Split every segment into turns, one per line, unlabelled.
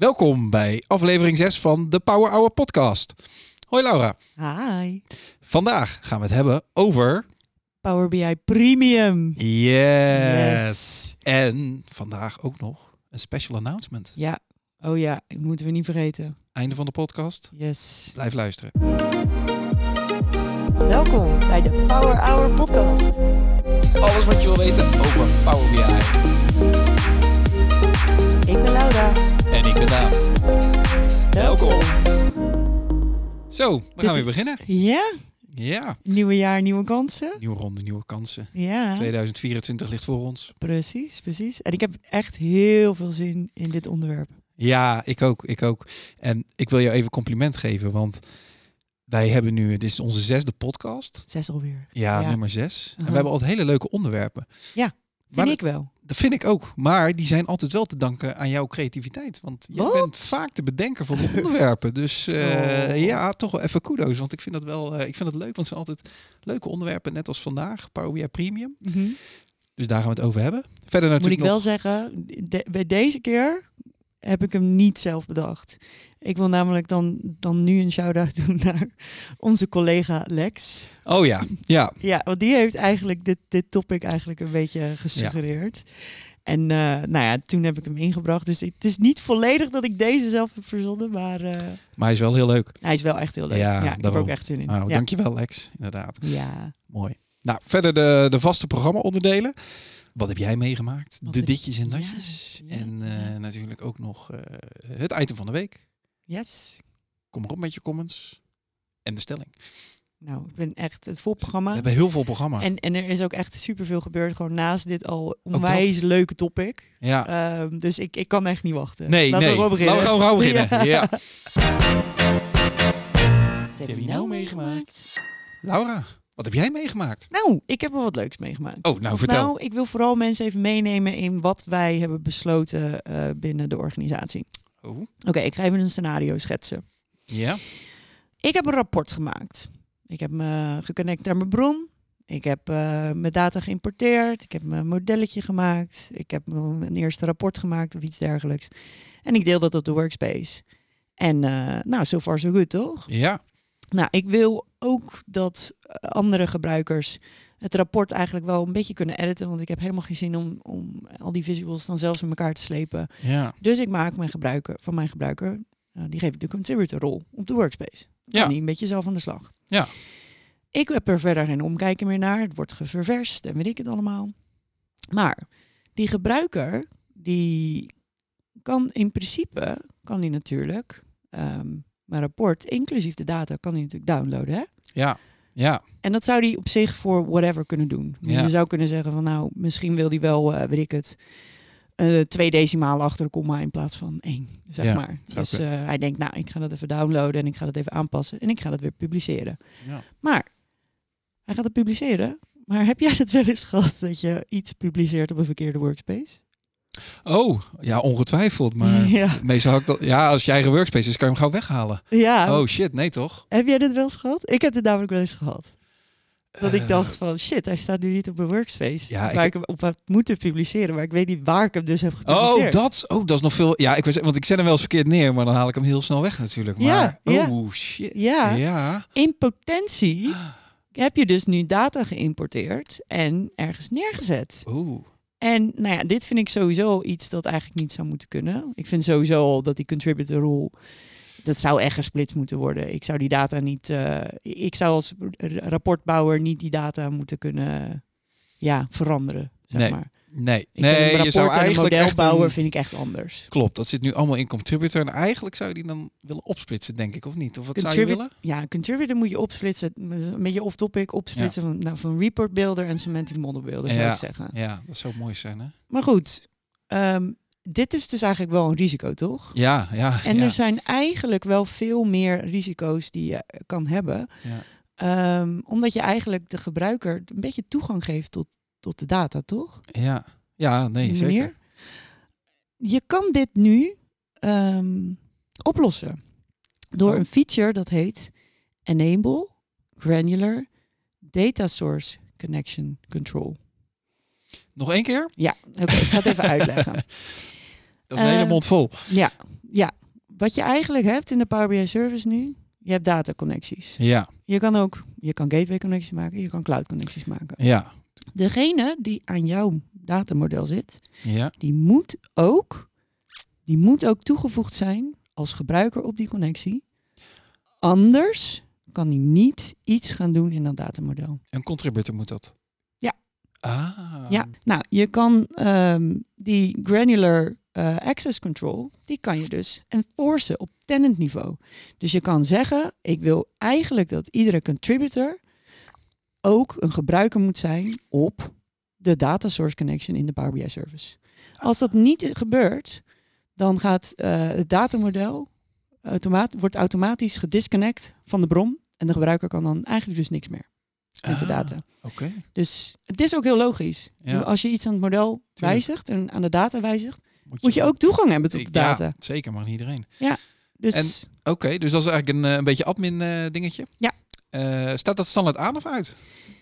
Welkom bij aflevering 6 van de Power Hour podcast. Hoi Laura,
Hi,
vandaag gaan we het hebben over...
Power BI Premium.
Yes! En vandaag ook nog een special announcement.
Ja. Oh ja, die moeten we niet vergeten.
Einde van de podcast,
Yes.
blijf luisteren.
Welkom bij de Power Hour Podcast.
Alles wat je wil weten over Power BI.
Ik ben Laura.
En ik ben Daan.
Welkom.
Zo, we gaan
is-
weer beginnen.
Ja,
Ja,
nieuwe jaar, nieuwe kansen.
nieuwe ronde, nieuwe kansen.
Ja,
2024 ligt voor ons.
precies, precies. En ik heb echt heel veel zin in dit onderwerp.
Ja, ik ook, ik ook. En ik wil jou even compliment geven, want wij hebben nu, dit is onze zesde podcast.
Zes alweer.
Ja,
Ja.
nummer zes. En
Aha.
we hebben altijd hele leuke onderwerpen.
Vind
Maar
ik wel.
Dat vind ik ook. Maar die zijn altijd wel te danken aan jouw creativiteit. Want jij
Wat?
bent vaak de bedenker van de onderwerpen. Dus eh,
Oh.
ja, toch wel even kudo's. Want ik vind dat wel eh, ik vind dat leuk. Want het zijn altijd leuke onderwerpen. Net als vandaag, Power BI Premium.
Mhm.
Dus daar gaan we het over hebben. Verder
Moet ik
natuurlijk
wel
nog...
zeggen, de- bij deze keer heb ik hem niet zelf bedacht. Ik wil namelijk dan, dan nu een shout-out doen naar onze collega Lex.
Oh ja, ja.
Ja, want die heeft eigenlijk dit, dit topic eigenlijk een beetje gesuggereerd. En eh, nou ja, toen heb ik hem ingebracht. Dus het is niet volledig dat ik deze zelf heb verzonnen, maar eh,
Maar hij is wel heel leuk.
hij is wel echt heel leuk.
Ja,
Ja, ik heb er
daarom.
ook echt zin in.
Nou,
ja.
dankjewel Lex. Inderdaad.
ja.
Mooi. Nou, verder de, de vaste programma-onderdelen. Wat heb jij meegemaakt?
Wat
de
heb-
ditjes en
ja,
datjes.
ja,
en eh, natuurlijk ook nog eh, het item van de week.
Yes.
Kom erop met je comments. En de stelling.
Nou, ik ben echt het vol
We
programma.
hebben heel veel programma.
En, en er is ook echt superveel gebeurd. Gewoon naast dit al onwijs leuke topic.
ja.
Ehm, dus ik, ik kan echt niet wachten.
nee,
Laten
nee.
we gewoon beginnen.
Laten we gewoon beginnen. Ja.
Wat heb
je
je
nou
nou meegemaakt?
Laura, wat heb jij meegemaakt?
Nou, ik heb wel wat leuks meegemaakt.
Oh, nou, vertel.
Nou, ik wil vooral mensen even meenemen in wat wij hebben besloten eh, binnen de organisatie.
Oh.
Oké, ik ga even een scenario schetsen.
Ja.
Ik heb een rapport gemaakt. Ik heb me geconnect aan mijn bron. Ik heb eh, mijn data geïmporteerd. Ik heb mijn modelletje gemaakt. Ik heb mijn eerste rapport gemaakt of iets dergelijks. En ik deel dat op de workspace. En eh, nou, so far so good, toch?
Ja.
Nou, ik wil ook dat eh, andere gebruikers het rapport eigenlijk wel een beetje kunnen editen. Want ik heb helemaal geen zin om, om al die visuals dan zelfs in elkaar te slepen.
Ja.
Dus ik maak mijn gebruiker, van mijn gebruiker, eh, die geef ik de contributor rol op de workspace.
Ja.
Dan kan die een beetje zelf aan de slag.
Ja.
Ik heb er verder geen omkijken meer naar. Het wordt geververst en weet ik het allemaal. Maar die gebruiker, die kan in principe, kan die natuurlijk ehm, mijn rapport, inclusief de data, kan die natuurlijk downloaden. Hè?
Ja. Ja.
En dat zou die op zich voor whatever kunnen doen. Dus
Ja.
Je zou kunnen zeggen van nou, misschien wil die wel, eh weet ik het, eh, twee decimalen achter de komma in plaats van één, zeg
Ja,
maar.
zou
Dus
kunnen.
eh, hij denkt nou, ik ga dat even downloaden en ik ga dat even aanpassen en ik ga dat weer publiceren.
Ja.
Maar hij gaat het publiceren. Maar heb jij dat wel eens gehad dat je iets publiceert op een verkeerde workspace?
Oh, ja, ongetwijfeld. Maar
ja.
meestal had ik dat... Ja, als je eigen workspace is, kan je hem gauw weghalen.
ja.
Oh shit, nee toch?
Heb jij dit wel eens gehad? Ik heb dit namelijk wel eens gehad. Dat ik
Eh,
dacht van shit, hij staat nu niet op mijn workspace.
Ja, ik
waar ik hem op had moeten publiceren, maar ik weet niet waar ik hem dus heb
Oh
gepubliceerd.
dat, oh, dat is nog veel. Ja, ik was, want ik zet hem wel eens verkeerd neer, maar dan haal ik hem heel snel weg natuurlijk. Maar,
Ja, ja.
oh shit.
Ja,
Ja.
in potentie heb je dus nu data geïmporteerd en ergens neergezet.
Oeh.
En nou ja, dit vind ik sowieso iets dat eigenlijk niet zou moeten kunnen. Ik vind sowieso al dat die contributor rol, dat zou echt gesplitst moeten worden. Ik zou die data niet, eh, ik zou als r- rapportbouwer niet die data moeten kunnen ja, veranderen, zeg
Nee.
maar.
Nee,
Ik vind
nee
een
je zou
rapport en een
eigenlijk echt
modelbouwer
een...
vind ik echt anders.
Klopt, dat zit nu allemaal in contributor. En eigenlijk zou je die dan willen opsplitsen, denk ik, of niet? Of wat zou je
Contribute-
willen?
Ja, contributor moet je opsplitsen, een beetje off-topic, opsplitsen van, nou, van report builder en semantic model builder, zou
Ja.
ik zeggen.
Ja, dat zou mooi zijn, hè?
Maar goed, ehm, dit is dus eigenlijk wel een risico, toch?
Ja, ja.
En dus-
ja.
er zijn eigenlijk wel veel meer risico's die je eh, kan hebben.
Ja.
Ehm, omdat je eigenlijk de gebruiker een beetje toegang geeft tot, tot de data, toch?
ja. ja, nee,
Op die
zeker.
manier. Je kan dit nu ehm, oplossen. Door
Oh.
een feature dat heet Enable Granular Data Source Connection Control.
Nog één keer?
Ja, oké, ik ga het even uitleggen.
Dat is een hele
Eh,
mond vol.
Ja, ja, wat je eigenlijk hebt in de Power BI Service nu, je hebt dataconnecties.
Ja,
Je kan ook, je kan gateway connecties maken, je kan cloud connecties maken.
ja,
Degene die aan jouw datamodel zit,
ja.
die moet ook, die moet ook toegevoegd zijn als gebruiker op die connectie. Anders kan die niet iets gaan doen in dat datamodel.
Een contributor moet dat.
Ja.
Ah.
Ja, nou, je kan ehm, die granular eh, access control, die kan je dus enforcen op tenant niveau. Dus je kan zeggen, ik wil eigenlijk dat iedere contributor ook een gebruiker moet zijn op de data source connection in de Power BI service. Als dat niet gebeurt, dan gaat eh, het datamodel automaat, wordt automatisch gedisconnect van de bron en de gebruiker kan dan eigenlijk dus niks meer met de
Ah,
data.
Oké.
Dus het is ook heel logisch.
Ja.
Als je iets aan het model wijzigt en aan de data wijzigt, moet je ook toegang hebben tot de
Ik-
data.
Ja, zeker, mag niet iedereen.
Dus
Oké, dus dat is eigenlijk een, eh, een beetje admin eh, dingetje.
Ja.
Eh, staat dat standaard aan of uit?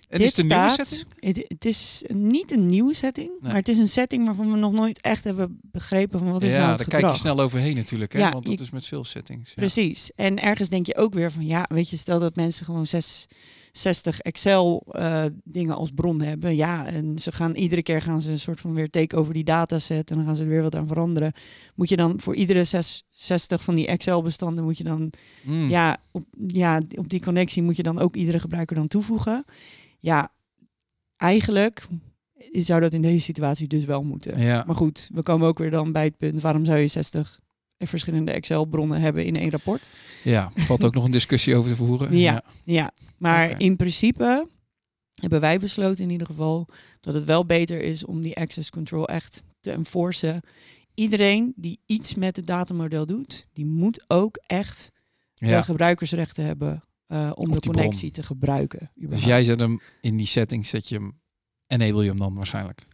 Het
dit
is de nieuwe
staat,
setting?
Het, het is niet een nieuwe setting, maar het is een setting waarvan we nog nooit echt hebben begrepen van wat is
ja,
nou het
daar
gedrag.
kijk je snel overheen natuurlijk. Hè?
Ja,
Want dat
je-
is met veel settings. Ja.
Precies. En ergens denk je ook weer van ja, weet je, stel dat mensen gewoon zes, 60 Excel eh, dingen als bron hebben. Ja, en ze gaan iedere keer gaan ze een soort van weer take over die dataset en dan gaan ze er weer wat aan veranderen. Moet je dan voor iedere zes, 60 van die Excel bestanden moet je dan
Mm.
ja, op, ja, op die connectie moet je dan ook iedere gebruiker dan toevoegen. Ja, eigenlijk zou dat in deze situatie dus wel moeten.
Ja.
Maar goed, we komen ook weer dan bij het punt, waarom zou je 60 verschillende Excel-bronnen hebben in één rapport?
ja, valt ook nog een discussie over te voeren.
Ja. Ja, maar
Oké.
in principe hebben wij besloten in ieder geval dat het wel beter is om die access control echt te enforcen. Iedereen die iets met het datamodel doet, die moet ook echt
ja.
de gebruikersrechten hebben eh, om de
die
connectie te gebruiken.
Dus
überhaupt.
jij zet hem in die settings, zet je hem, enable je hem dan waarschijnlijk.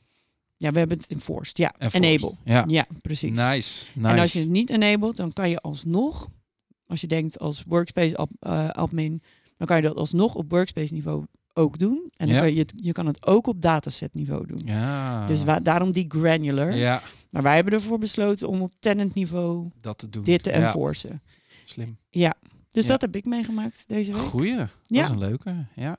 Ja, we hebben het enforced. Ja,
Enforced.
enable.
Ja, Nou,
Ja, precies.
nice. nice.
En als je het niet enabled, dan kan je alsnog, als je denkt als workspace ad- eh, admin, dan kan je dat alsnog op workspace niveau ook doen. En dan
Ja.
kan je, het, je kan het ook op dataset niveau doen.
ja.
Dus wa- daarom die granular.
ja,
Maar wij hebben ervoor besloten om op tenant niveau
dat te doen.
dit te
ja,
enforcen.
Slim.
Dus
Ja.
dat heb ik meegemaakt deze week.
Goeie. Dat
Ja.
is een leuke. Ja.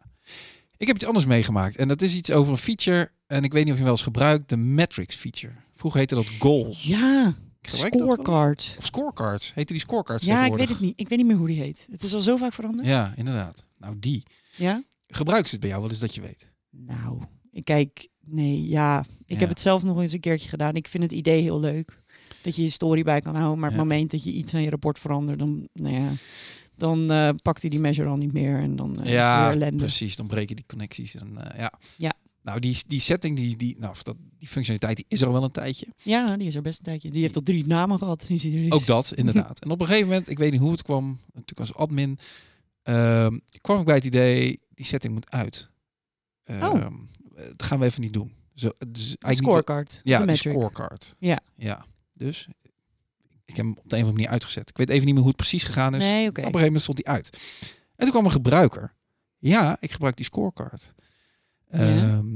Ik heb iets anders meegemaakt. En dat is iets over een feature. En ik weet niet of je hem wel eens gebruikt. De metrics feature. Vroeger heette dat goals.
Ja,
Gebruik je dat wel?
scorecard.
Of scorecards. Heette die scorecards
Ja, ik
tegenwoordig?
weet het niet. Ik weet niet meer hoe die heet. Het is al zo vaak veranderd.
Ja, inderdaad. Nou, die.
ja?
Gebruik ze het bij jou wel eens dat je weet?
Nou, ik kijk, nee, ja. Ik
Ja.
heb het zelf nog eens een keertje gedaan. Ik vind het idee heel leuk. Dat je je story bij kan houden. Maar op
Ja.
het moment dat je iets aan je rapport verandert, dan, nou ja, dan eh, pakt hij die measure al niet meer. En dan eh, is het weer ellende.
precies. Dan breken die connecties. En, eh, ja.
Ja.
Nou, die, die setting, die, die, nou, dat, die functionaliteit, die is er al wel een tijdje.
Ja, die is er best een tijdje. Die heeft al drie namen gehad. sinds die er is.
Ook dat, inderdaad. En op een gegeven moment, ik weet niet hoe het kwam, natuurlijk als admin, ehm, kwam ik bij het idee, die setting moet uit. Ehm,
Oh.
Dat gaan we even niet doen. Zo, dus
Een
eigenlijk niet,
scorecard.
ja,
de
die
metric.
scorecard.
Ja.
ja. Dus ik heb hem op de een of andere manier uitgezet. Ik weet even niet meer hoe het precies gegaan is.
Nee, oké.
Maar Op een gegeven moment stond die uit. En toen kwam een gebruiker. Ja, ik gebruik die scorecard. Ehm,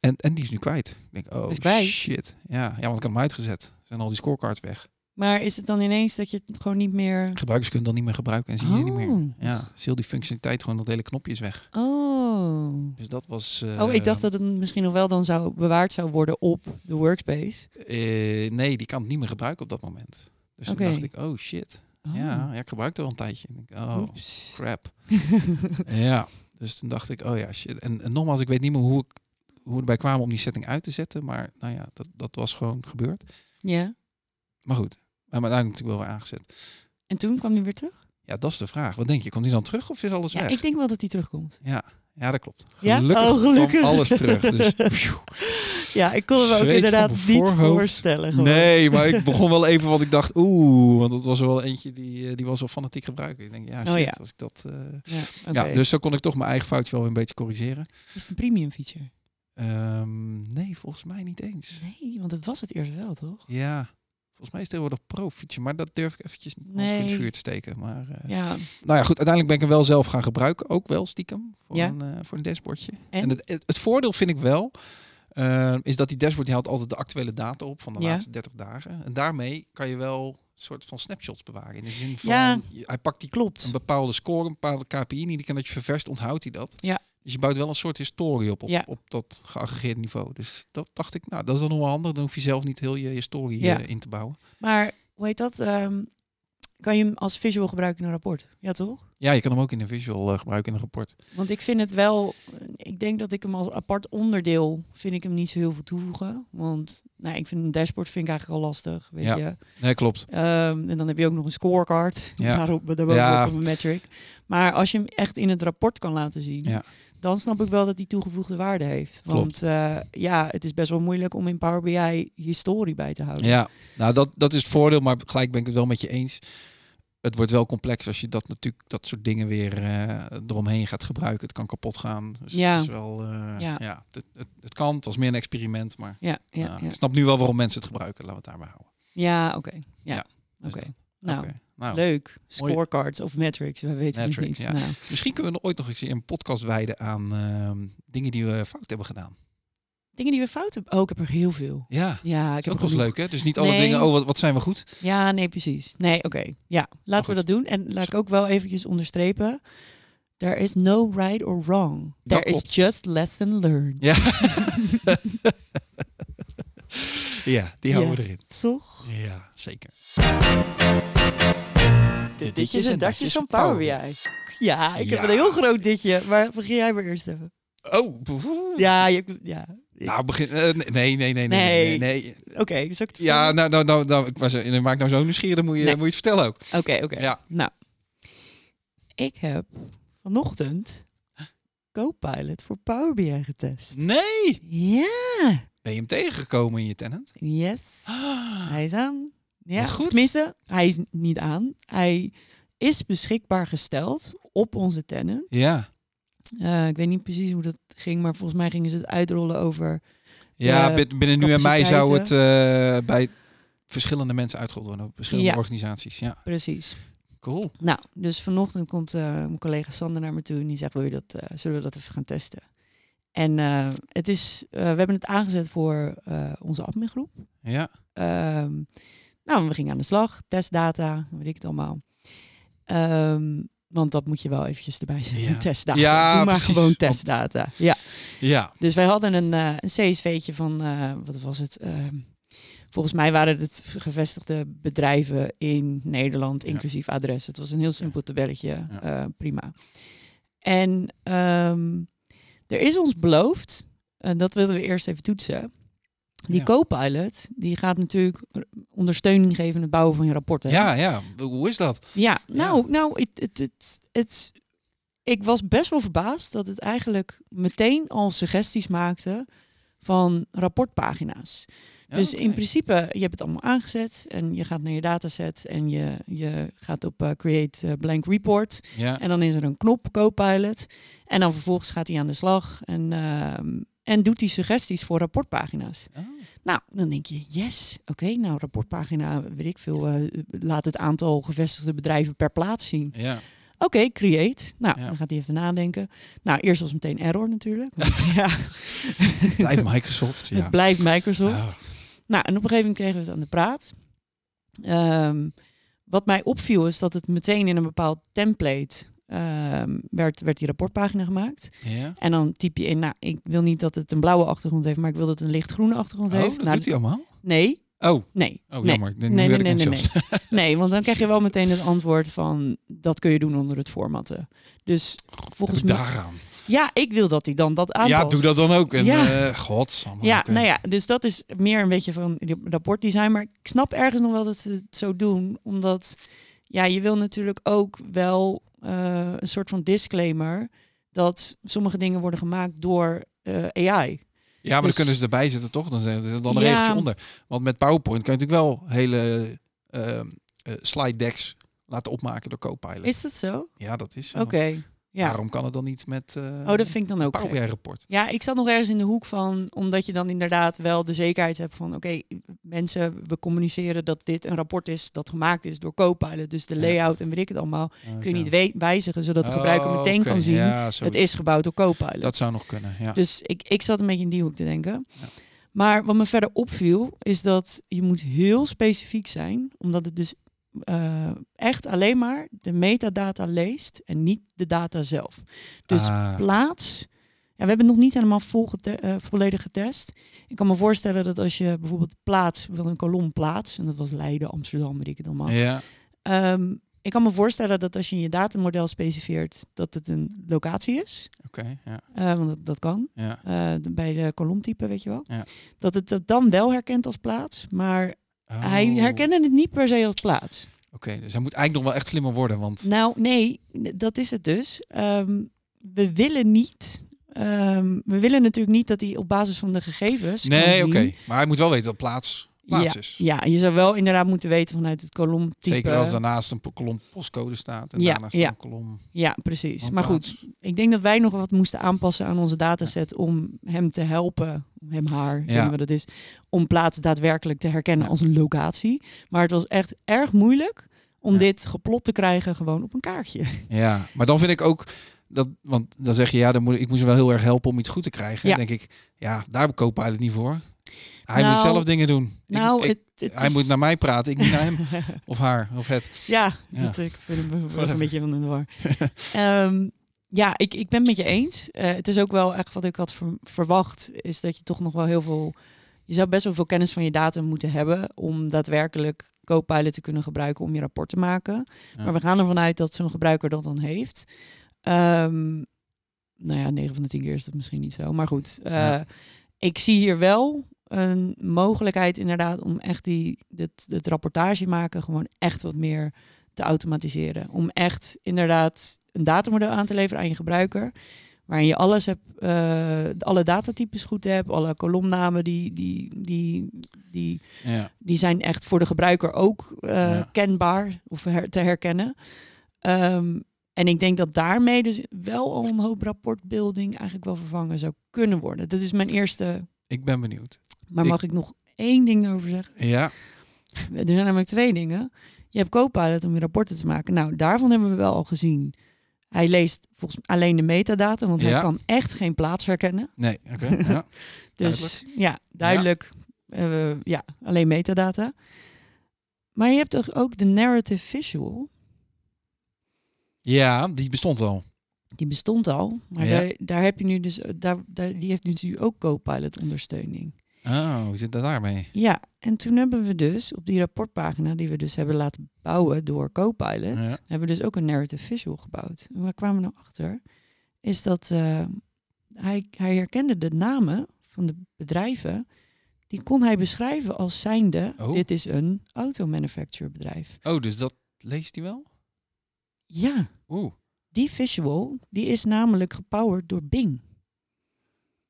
en, en die is nu kwijt. Ik denk, oh
Is kwijt?
shit. Ja, ja, want ik had hem uitgezet. Zijn al die scorecards weg.
Maar is het dan ineens dat je het gewoon niet meer...
Gebruikers kunnen dan niet meer gebruiken en zien ze niet meer.
Oh.
Ja, dus heel die functionaliteit, gewoon dat hele knopje is weg.
Oh.
Dus dat was... eh,
Oh, ik dacht dat het misschien nog wel dan zou bewaard zou worden op de workspace.
eh, nee, die kan het niet meer gebruiken op dat moment. Dus
Oké.
toen dacht ik, oh shit.
Oh.
Ja, ja, ik gebruikte al een tijdje. En ik, oh,
Oeps.
crap. ja, dus toen dacht ik, oh ja, shit. En, en nogmaals, ik weet niet meer hoe ik hoe we erbij kwamen om die setting uit te zetten. Maar nou ja, dat, dat was gewoon gebeurd.
Ja.
Maar goed, we hebben uiteindelijk natuurlijk wel weer aangezet.
En toen kwam hij weer terug?
Ja, dat is de vraag. Wat denk je? Komt die dan terug of is alles
Ja,
weg?
ik denk wel dat hij terugkomt.
Ja, ja, dat klopt.
Ja?
Gelukkig,
Oh, gelukkig.
kwam alles terug. Dus, pjoe.
Ja, ik kon
me ook
me
Zweet
ook
van inderdaad
inderdaad
mijn
niet
niet voorhoofd.
voorstellen.
nee, maar ik begon wel even, want ik dacht, oeh, want dat was er wel eentje die, eh, die was wel fanatiek gebruiker. Ik denk, ja, shit,
Oh, ja.
als ik dat... eh,
Ja,
ja, dus zo kon ik toch mijn eigen foutje wel weer een beetje corrigeren.
Is het een premium feature?
Ehm, nee, volgens mij niet eens.
Nee, want het was het eerst wel, toch?
Ja, volgens mij is het tegenwoordig profietje, maar dat durf ik eventjes niet nee. in het
Nee.
vuur te steken. Maar, eh,
Ja.
Nou ja, goed, uiteindelijk ben ik hem wel zelf gaan gebruiken. Ook wel stiekem voor,
Ja.
een, eh, voor een dashboardje. En,
En?
het, het, het voordeel vind ik wel, eh, is dat die dashboard die haalt altijd de actuele data op van de
Ja.
laatste 30 dagen. En daarmee kan je wel soort van snapshots bewaren. In de zin van,
Ja.
je- hij pakt die een
Klopt.
bepaalde score, een bepaalde KPI, die kan dat je ververst, onthoudt hij dat.
Ja.
Dus je bouwt wel een soort historie op, op,
Ja.
op dat geaggregeerde niveau. Dus dat dacht ik, nou, dat is dan nog wel handig. Dan hoef je zelf niet heel je historie
Ja.
eh, in te bouwen.
Maar hoe heet dat? Ehm, kan je hem als visual gebruiken in een rapport? Ja, toch?
Ja, je kan hem ook in een visual eh, gebruiken in een rapport.
Want ik vind het wel, ik denk dat ik hem als apart onderdeel, vind ik hem niet zo heel veel toevoegen. Want nou, ik vind een dashboard vind ik eigenlijk al lastig, weet
Ja.
je.
Nee, klopt.
Ehm, en dan heb je ook nog een scorecard,
Ja.
daarop, daarbovenop
Ja.
op een metric. Maar als je hem echt in het rapport kan laten zien,
Ja.
dan snap ik wel dat die toegevoegde waarde heeft.
Klopt.
Want eh, ja, het is best wel moeilijk om in Power BI historie bij te houden.
Ja, nou dat, dat is het voordeel, maar gelijk ben ik het wel met je eens. Het wordt wel complex als je dat natuurlijk dat soort dingen weer eh, eromheen gaat gebruiken. Het kan kapot gaan. Dus
Ja.
het is wel. eh,
Ja.
ja. het, het, het kan. Het was meer een experiment, maar
Ja, ja,
nou,
ja.
ik snap nu wel waarom mensen het gebruiken. Laten we het daarbij houden.
Ja, oké. Ja,
Ja,
oké.
dus
Nou,
Oké, nou,
leuk.
Mooi.
Scorecards of metrics, we weten
Metric,
het niet.
ja.
Nou,
misschien kunnen we nog ooit nog eens een podcast wijden aan ehm, dingen die we fout hebben gedaan.
dingen die we fout hebben. Oh, ik heb er heel veel.
Ja,
Ja,
dat
ik
is ook
heb er
wel eens
genoeg.
leuk, hè? Dus niet alle
Nee.
dingen. Oh, wat, wat zijn we goed?
Ja, nee, precies. Nee, oké. Ja, laten we
goed.
dat doen. En laat ik ook wel eventjes onderstrepen. There is no right or wrong.
Dat
There is
klopt.
just lesson learned.
Ja. ja, die houden
Ja.
we erin.
Toch?
Ja, zeker.
De
ditjes en datjes van Power BI.
Ja, ik heb
Ja.
een heel groot ditje. Maar begin jij maar eerst even.
Oh, boehoe.
Ja, je, hebt- ja.
Nou, begin. eh, nee, nee, nee, nee,
Nee.
nee. nee, nee.
oké. zal ik het
Ja,
vertellen?
nou, nou, nou, nou, ik was, eh, maak nou zo nieuwsgierig, dan moet je,
Nee.
moet je het vertellen ook.
Oké, oké.
Ja.
Nou, ik heb vanochtend Copilot voor Power BI getest.
Nee!
Ja,
Ben je hem tegengekomen in je tenant?
yes. Hij is aan. Ja,
Wat goed.
tenminste, hij is niet aan. Hij is beschikbaar gesteld op onze tenant.
Ja.
Eh, ik weet niet precies hoe dat ging, maar volgens mij gingen ze het uitrollen over...
Ja,
Eh,
bit- binnen nu en mij zou het eh, bij verschillende mensen uitgerold worden, of verschillende
Ja.
organisaties. Ja,
Precies.
cool.
Nou, dus vanochtend komt eh, mijn collega Sander naar me toe en die zegt, Wil je dat, eh, zullen we dat even gaan testen? En eh, het is, eh, we hebben het aangezet voor eh, onze admingroep.
Ja.
Ehm, nou, we gingen aan de slag, testdata, weet ik het allemaal. Ehm, want dat moet je wel eventjes erbij zetten,
Ja.
testdata.
Ja,
Doe maar
precies,
gewoon
want-
testdata. Ja,
Ja.
dus wij hadden een, eh, een CSV'tje van, eh, wat was het? Ehm, volgens mij waren het gevestigde bedrijven in Nederland,
Ja.
inclusief adres. Het was een heel simpel tabelletje,
Ja.
eh, prima. En ehm, er is ons beloofd, en dat wilden we eerst even toetsen. Die
Ja.
co-pilot, die gaat natuurlijk ondersteuning geven in het bouwen van je rapporten.
ja, ja. Hoe is dat?
Ja, nou, nou, het, het, het, het, ik was best wel verbaasd dat het eigenlijk meteen al suggesties maakte van rapportpagina's.
Ja,
dus in
oké.
principe, je hebt het allemaal aangezet en je gaat naar je dataset en je, je gaat op eh, create eh, blank report.
Ja.
En dan is er een knop, Copilot. En dan vervolgens gaat hij aan de slag en, ehm, en doet hij suggesties voor rapportpagina's.
Oh.
Nou, dan denk je, yes, oké, nou rapportpagina, weet ik veel, eh, laat het aantal gevestigde bedrijven per plaats zien.
Ja.
Oké, create. Nou,
Ja.
dan gaat hij even nadenken. Nou, eerst was meteen error natuurlijk. want ja,
Blijf Microsoft. Ja.
het blijft Microsoft.
Ah,
Nou, en op een gegeven moment kregen we het aan de praat. Ehm, wat mij opviel is dat het meteen in een bepaald template ehm, werd, werd die rapportpagina gemaakt.
Oh, ja.
En dan typ je in, nou, ik wil niet dat het een blauwe achtergrond heeft, maar ik wil dat het een lichtgroene achtergrond
Oh,
heeft.
dat
Nou,
doet hij allemaal?
Nee,
Oh,
nee.
oh
nee.
jammer. Ik denk,
Nee,
nu werd
nee, nee,
ik
nee, nee.
enthousiast.
Nee, want dan krijg je wel meteen het antwoord van dat kun je doen onder het formatten. Dus volgens
Heb ik
mij.
Daaraan.
Ja, ik wil dat hij dan dat aanpast.
Ja, doe dat dan ook. En,
Ja.
ja. godsamme.
Ja,
oké.
nou ja, dus dat is meer een beetje van rapportdesign. Maar ik snap ergens nog wel dat ze het zo doen. Omdat ja, je wil natuurlijk ook wel eh, een soort van disclaimer dat sommige dingen worden gemaakt door eh, AI.
Ja, maar
Dus-
dan kunnen ze erbij zetten, toch? Dan zijn er dan een
Ja.
regeltje onder. Want met PowerPoint kan je natuurlijk wel hele ehm, eh, slide decks laten opmaken door Copilot.
Is dat zo? Oké.
Ja, dat is zo.
Ja.
Waarom kan het dan niet met eh
Oh, dat vind ik dan ook.
Power
gek.
BI rapport?
Ja, ik zat nog ergens in de hoek van, omdat je dan inderdaad wel de zekerheid hebt van, oké, mensen, we communiceren dat dit een rapport is dat gemaakt is door Copilot, dus de
Ja.
layout en weet ik het allemaal,
Eh,
kun je
zo.
niet we- wijzigen, zodat de gebruiker
Oh,
meteen
oké.
kan zien,
Ja,
het
zoiets.
is gebouwd door Copilot.
Dat zou nog kunnen, ja.
Dus ik, ik zat een beetje in die hoek te denken.
Ja.
Maar wat me verder opviel, is dat je moet heel specifiek zijn, omdat het dus eh, echt alleen maar de metadata leest en niet de data zelf. Dus
Ah,
plaats. Ja, we hebben het nog niet helemaal vol gete- eh, volledig getest. Ik kan me voorstellen dat als je bijvoorbeeld plaats, wil een kolom plaats, en dat was Leiden, Amsterdam, weet ik het allemaal.
ja.
Ehm, ik kan me voorstellen dat als je in je datamodel specifieert dat het een locatie is,
Oké, ja,
eh, want dat, dat kan,
ja.
eh, de- bij de kolomtype, weet je wel.
Ja.
Dat het dat dan wel herkent als plaats, maar
Oh.
hij herkende het niet per se als plaats.
Oké, dus hij moet eigenlijk nog wel echt slimmer worden, want...
Nou, nee, n- dat is het dus. Ehm, we willen niet. ehm, we willen natuurlijk niet dat hij op basis van de gegevens. kan
Nee,
zien-
oké. Maar hij moet wel weten dat plaats plaats is.
Ja, je zou wel inderdaad moeten weten vanuit het kolomtype.
Zeker als daarnaast een po- kolom postcode staat en
Ja,
daarnaast
ja.
een kolom
Ja, precies.
woonplaats.
Maar goed, ik denk dat wij nog wat moesten aanpassen aan onze dataset om hem te helpen, om hem haar, ik weet
Ja.
niet wat het is, om plaats daadwerkelijk te herkennen
Ja.
als een locatie. Maar het was echt erg moeilijk om
Ja.
dit geplot te krijgen gewoon op een kaartje.
Ja, maar dan vind ik ook dat, want dan zeg je ja, dan moet ik, ik moet ze wel heel erg helpen om iets goed te krijgen.
Ja.
Dan denk ik, ja, daar koopt hij het niet voor. Hij moet
Nou,
zelf dingen doen. Ik-
nou,
ik-
het, het
hij
is-
moet naar mij praten, ik niet naar hem of haar of het.
Ja,
Ja.
dat eh, ik vind hem ook
Whatever.
een beetje van de war. Ehm, ja, ik, ik ben het met je eens. Eh, het is ook wel echt wat ik had ver- verwacht, is dat je toch nog wel heel veel. Je zou best wel veel kennis van je data moeten hebben om daadwerkelijk Copilot te kunnen gebruiken om je rapport te maken.
Ja.
Maar we gaan ervan uit dat zo'n gebruiker dat dan heeft. Ehm, nou ja, 9 van de 10 keer is dat misschien niet zo. Maar goed, eh,
Ja.
ik zie hier wel een mogelijkheid inderdaad om echt die, dit, dit rapportage maken gewoon echt wat meer te automatiseren. Om echt inderdaad een datamodel aan te leveren aan je gebruiker. Waarin je alles hebt, eh, alle datatypes goed hebt, alle kolomnamen die, die, die, die
Ja,
die zijn echt voor de gebruiker ook eh,
Ja.
kenbaar of her- te herkennen. Ehm, en ik denk dat daarmee dus wel al een hoop rapportbuilding eigenlijk wel vervangen zou kunnen worden. Dat is mijn eerste.
ik ben benieuwd.
Maar
Ik-
mag ik nog één ding over zeggen?
Ja,
Er zijn namelijk twee dingen. Je hebt Copilot om je rapporten te maken. Nou, daarvan hebben we wel al gezien. Hij leest volgens mij alleen de metadata, want
Ja.
hij kan echt geen plaats herkennen.
nee, oké. ja.
Dus ja, duidelijk. eh, ja, alleen metadata. Maar je hebt toch ook de narrative visual.
ja, die bestond al.
Die bestond al, maar
Ja.
daar, daar heb je nu dus, eh, daar, daar, die heeft natuurlijk ook Copilot ondersteuning.
Oh, hoe zit dat daarmee?
Ja, en toen hebben we dus op die rapportpagina die we dus hebben laten bouwen door Copilot,
Ja.
hebben we dus ook een narrative visual gebouwd. En waar kwamen we nou achter? Is dat eh, hij, hij herkende de namen van de bedrijven, die kon hij beschrijven als zijnde,
Oh.
dit is een automanufacturer bedrijf.
Oh, dus dat leest hij wel?
Ja,
Oeh.
die visual, die is namelijk gepowered door Bing.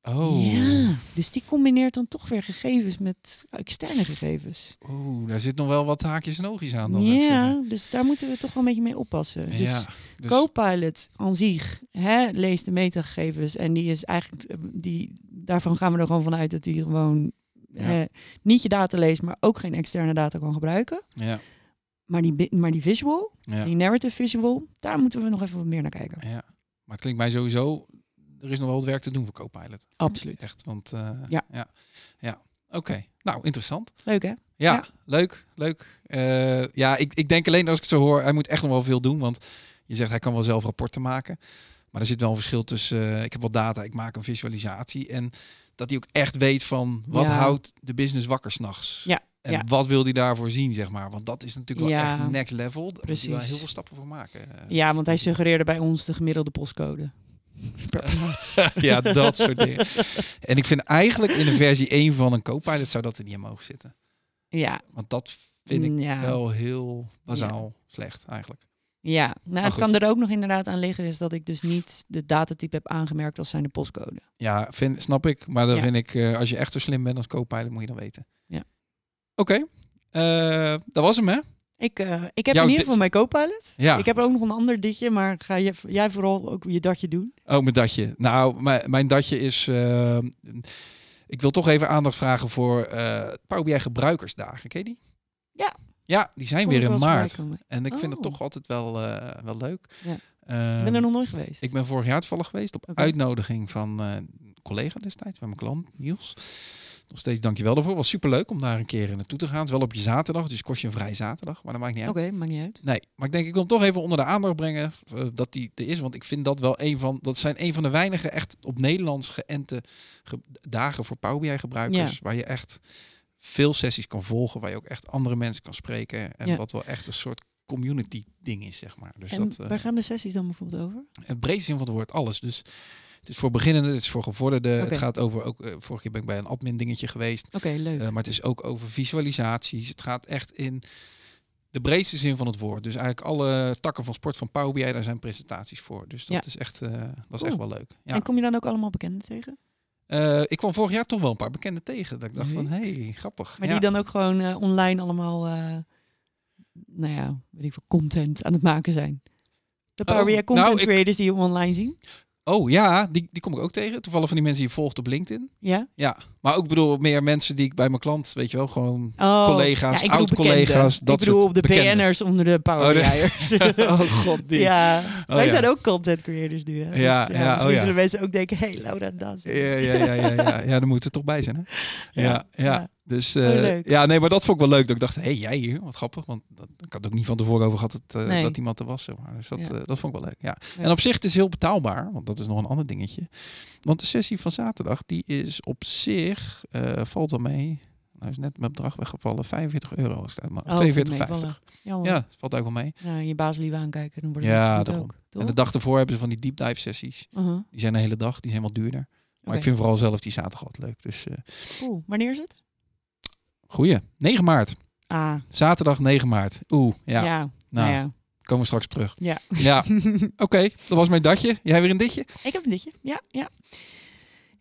Oh.
Ja, dus die combineert dan toch weer gegevens met externe gegevens.
Oeh, daar zit nog wel wat haakjes en oogjes aan dan zou ik zeggen.
Ja, dus daar moeten we toch wel een beetje mee oppassen. Dus
ja, dus
Copilot aan zich hè, leest de metagegevens en die is eigenlijk, eh, die, daarvan gaan we er gewoon vanuit dat die gewoon
Ja.
hè, niet je data leest, maar ook geen externe data kan gebruiken.
ja,
Maar die, bi- maar die visual,
ja.
die narrative visual, daar moeten we nog even wat meer naar kijken.
Ja, maar het klinkt mij sowieso. Er is nog wel wat werk te doen voor Copilot.
Absoluut.
Echt, want eh,
Ja.
ja, ja. Oké, nou interessant.
Leuk hè?
Ja,
Ja.
leuk, leuk. Eh, ja, ik, ik denk alleen als ik het zo hoor, hij moet echt nog wel veel doen, want je zegt hij kan wel zelf rapporten maken, maar er zit wel een verschil tussen. eh, ik heb wat data, ik maak een visualisatie en dat hij ook echt weet van wat
Ja.
houdt de business wakker s'nachts.
Ja,
En
ja.
wat wil hij daarvoor zien, zeg maar? Want dat is natuurlijk wel
Ja.
echt next level. Daar moet hij wel
Precies.
heel veel stappen voor maken. eh.
Ja, want hij suggereerde bij ons de gemiddelde postcode. Per plaats.
ja, dat soort dingen. En ik vind eigenlijk in de versie 1 van een Copilot zou dat er niet in mogen zitten.
Ja, mm,
Want dat vind ik
ja.
wel heel bazaal slecht eigenlijk.
Ja, nou, het
goed.
kan er ook nog inderdaad aan liggen is dat ik dus niet de datatype heb aangemerkt als zijn de postcode.
Ja, vind, snap ik. Maar dan
Ja.
vind ik, eh, als je echt zo slim bent als Copilot, moet je dan weten.
Ja.
Oké, eh, dat was hem hè?
Ik, eh, ik heb
Jouw dit-
in ieder geval mijn Copilot.
Ja.
Ik heb ook nog een ander ditje, maar ga je, jij vooral ook je datje doen.
Oh, mijn datje. Nou, mijn, mijn datje is... eh, ik wil toch even aandacht vragen voor eh Power BI Gebruikersdagen. Ken je die?
Ja.
Ja, die zijn
Kom
weer
ik
in
wel eens voorbij
maart.
komen.
En ik vind het
Oh.
toch altijd wel, eh, wel leuk.
Ja.
Ehm,
Ik ben er nog nooit geweest.
Ik ben vorig jaar toevallig geweest op
Oké.
uitnodiging van eh, een collega destijds, van mijn klant Niels. nog steeds dankjewel daarvoor. Was superleuk om daar een keer naartoe te gaan. Het is wel op je zaterdag, dus kost je een vrij zaterdag. Maar dat maakt niet uit.
Oké, maakt niet uit.
Nee, maar ik denk ik wil hem toch even onder de aandacht brengen eh, dat die er is. Want ik vind dat wel een van, dat zijn een van de weinige echt op Nederlands geënte ge- dagen voor Power BI gebruikers.
Ja.
Waar je echt veel sessies kan volgen, waar je ook echt andere mensen kan spreken. En
Ja.
wat wel echt een soort community ding is, zeg maar. Dus
en
dat, eh,
waar gaan de sessies dan bijvoorbeeld over?
in breedste zin van het woord alles. Dus het is voor beginnenden, het is voor gevorderden.
Oké.
Het gaat over, ook eh, vorige keer ben ik bij een admin dingetje geweest.
Oké, leuk.
Eh, maar het is ook over visualisaties. Het gaat echt in de breedste zin van het woord. Dus eigenlijk alle takken van sport van Power BI, daar zijn presentaties voor. Dus dat
Ja.
is echt, eh, dat is
Cool.
echt wel leuk. Ja.
En kom je dan ook allemaal bekenden tegen?
Eh, ik kwam vorig jaar toch wel een paar bekenden tegen. Dat ik dacht van, hey, grappig.
Maar
ja.
die dan ook gewoon eh, online allemaal, eh, nou ja, weet ik veel, content aan het maken zijn. De Power
Oh,
BI content
nou, ik-
creators die je online zien.
Oh ja, die, die kom ik ook tegen. Toevallig van die mensen die je volgt op LinkedIn.
Ja?
Ja, maar ook bedoel meer mensen die ik bij mijn klant, weet je wel, gewoon...
Oh,
Collega's,
ik bedoel
oud-collega's,
bekenden.
dat
Ik bedoel
soort
op de
bekenden.
BN'ers onder de Power
Oh, de-
BI'ers.
oh god, die.
ja,
Oh,
wij
ja.
zijn ook content creators nu. Hè?
Ja,
dus,
ja, oh,
misschien
ja.
zullen mensen ook denken, hey Laura Das.
Ja, ja, ja, ja, ja. ja, dan moet het toch bij zijn, hè? Ja, ja.
Ja, ja.
Dus
Oh,
eh,
leuk.
ja, nee, maar dat vond ik wel leuk. Dat ik dacht, hé, hey, jij hier, wat grappig. Want dat, ik had ook niet van tevoren over gehad dat, eh,
Nee.
dat iemand er was. zeg Maar. Dus dat,
Ja.
eh, dat vond ik wel leuk. Ja.
Ja.
En op zich het is heel betaalbaar, want dat is nog een ander dingetje. Want de sessie van zaterdag, die is op zich, eh, valt wel mee. Nou is net mijn bedrag weggevallen, 45 euro. is het, maar-
Oh,
Of 42,50.
meevallen. Jammer.
Ja, valt ook wel mee.
Nou, je baas liever aankijken, dan wordt het
Ja,
ja, goed
daarom.
ook. Toch?
En de dag ervoor hebben ze van die deep dive sessies.
Aha,
Die zijn de hele dag, die zijn wat duurder. Maar
oké.
ik vind vooral zelf die zaterdag altijd leuk. Dus eh
Cool. Wanneer is het?
goeie. 9 maart.
Ah,
Zaterdag 9 maart. Oeh, ja.
ja.
nou,
nou ja.
komen we straks terug.
Ja.
Ja, oké. Dat was mijn datje. Jij weer een ditje?
Ik heb een ditje. Ja, ja.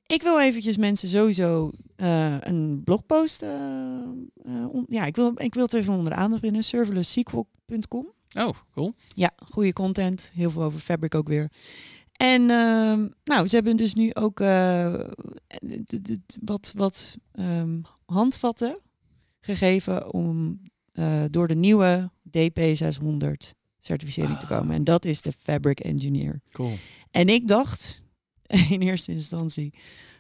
Ik wil eventjes mensen sowieso eh, een blogpost. eh, eh, on- ja, ik wil, ik wil het even onder de aandacht brengen. serverlesssequel.com.
Oh, cool.
Ja, goede content. Heel veel over Fabric ook weer. En ehm, nou, ze hebben dus nu ook eh, d- d- d- wat, wat ehm, handvatten gegeven om eh, door de nieuwe DP600 certificering te komen. En dat is de Fabric Engineer.
Cool.
En ik dacht in eerste instantie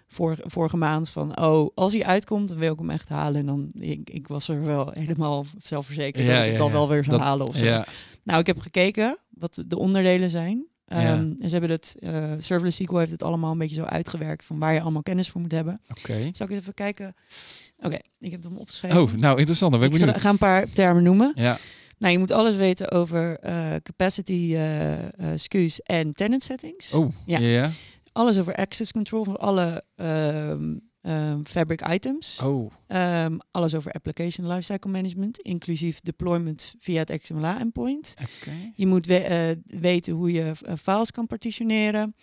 vor, vorige maand van, oh, als hij uitkomt, dan wil ik hem echt halen. En dan, ik, ik was er wel helemaal zelfverzekerd
Ja,
dat ik het
ja,
dan
ja.
wel weer zou
Dat-
halen of zo.
Ja,
Nou, ik heb gekeken wat de onderdelen zijn. Ehm,
Ja.
En ze hebben het, eh Serverless SQL heeft het allemaal een beetje zo uitgewerkt van waar je allemaal kennis voor moet hebben.
oké.
Zal ik het even kijken? Oké, ik heb hem opgeschreven.
Oh, nou interessant. Dan ben
ik
ik
zal-
benieuwd.
ga een paar termen noemen.
Ja,
Nou, je moet alles weten over eh, capacity, eh eh, SKU's en tenant settings
oh, ja.
Ja.
ja.
alles over access control voor alle ehm, ehm, fabric items.
Oh,
Ehm, alles over application lifecycle management, inclusief deployment via het XML endpoint.
oké.
Je moet we- eh, weten hoe je eh, files kan partitioneren.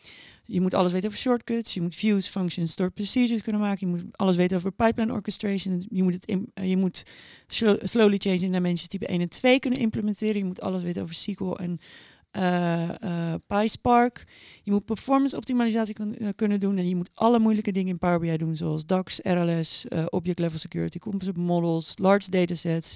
Je moet alles weten over shortcuts. Je moet views, functions, stored procedures kunnen maken. Je moet alles weten over pipeline orchestration. Je moet, het im- eh, je moet slo- slowly changing dimensions type 1 en 2 kunnen implementeren. Je moet alles weten over SQL en eh, eh, PySpark. Je moet performance optimalisatie kun- eh, kunnen doen. En je moet alle moeilijke dingen in Power BI doen. Zoals DAX, RLS, eh, Object Level Security, Composite Models, Large Datasets.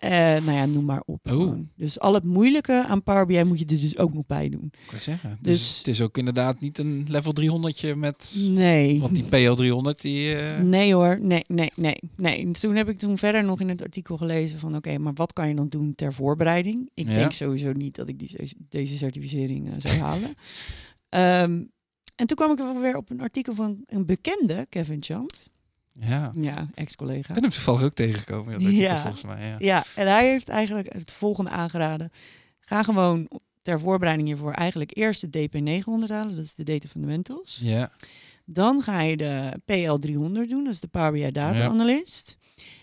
Eh, nou ja, noem maar op.
Oh.
gewoon. Dus al het moeilijke aan Power BI moet je er dus ook nog bij doen.
Ik kan zeggen. Dus,
Dus-
het is ook inderdaad niet een level 300 met...
Nee.
Want die PL300, die... eh,
Nee hoor, nee, nee, nee, nee. En Toen heb ik toen verder nog in het artikel gelezen van... oké, maar wat kan je dan doen ter voorbereiding? Ik
Ja.
denk sowieso niet dat ik die, deze certificering eh, zou halen. Ehm, en toen kwam ik wel weer op een artikel van een bekende, Kevin Chant.
Ja. Ik
Ja, ex-collega.
ben hem toevallig ook tegengekomen. Dat artikel,
Ja.
Volgens mij, ja.
Ja, en hij heeft eigenlijk het volgende aangeraden. Ga gewoon ter voorbereiding hiervoor eigenlijk eerst de DP900 halen. Dat is de Data Fundamentals.
Ja.
Dan ga je de PL300 doen, dat is de Power BI Data
Ja.
Analyst.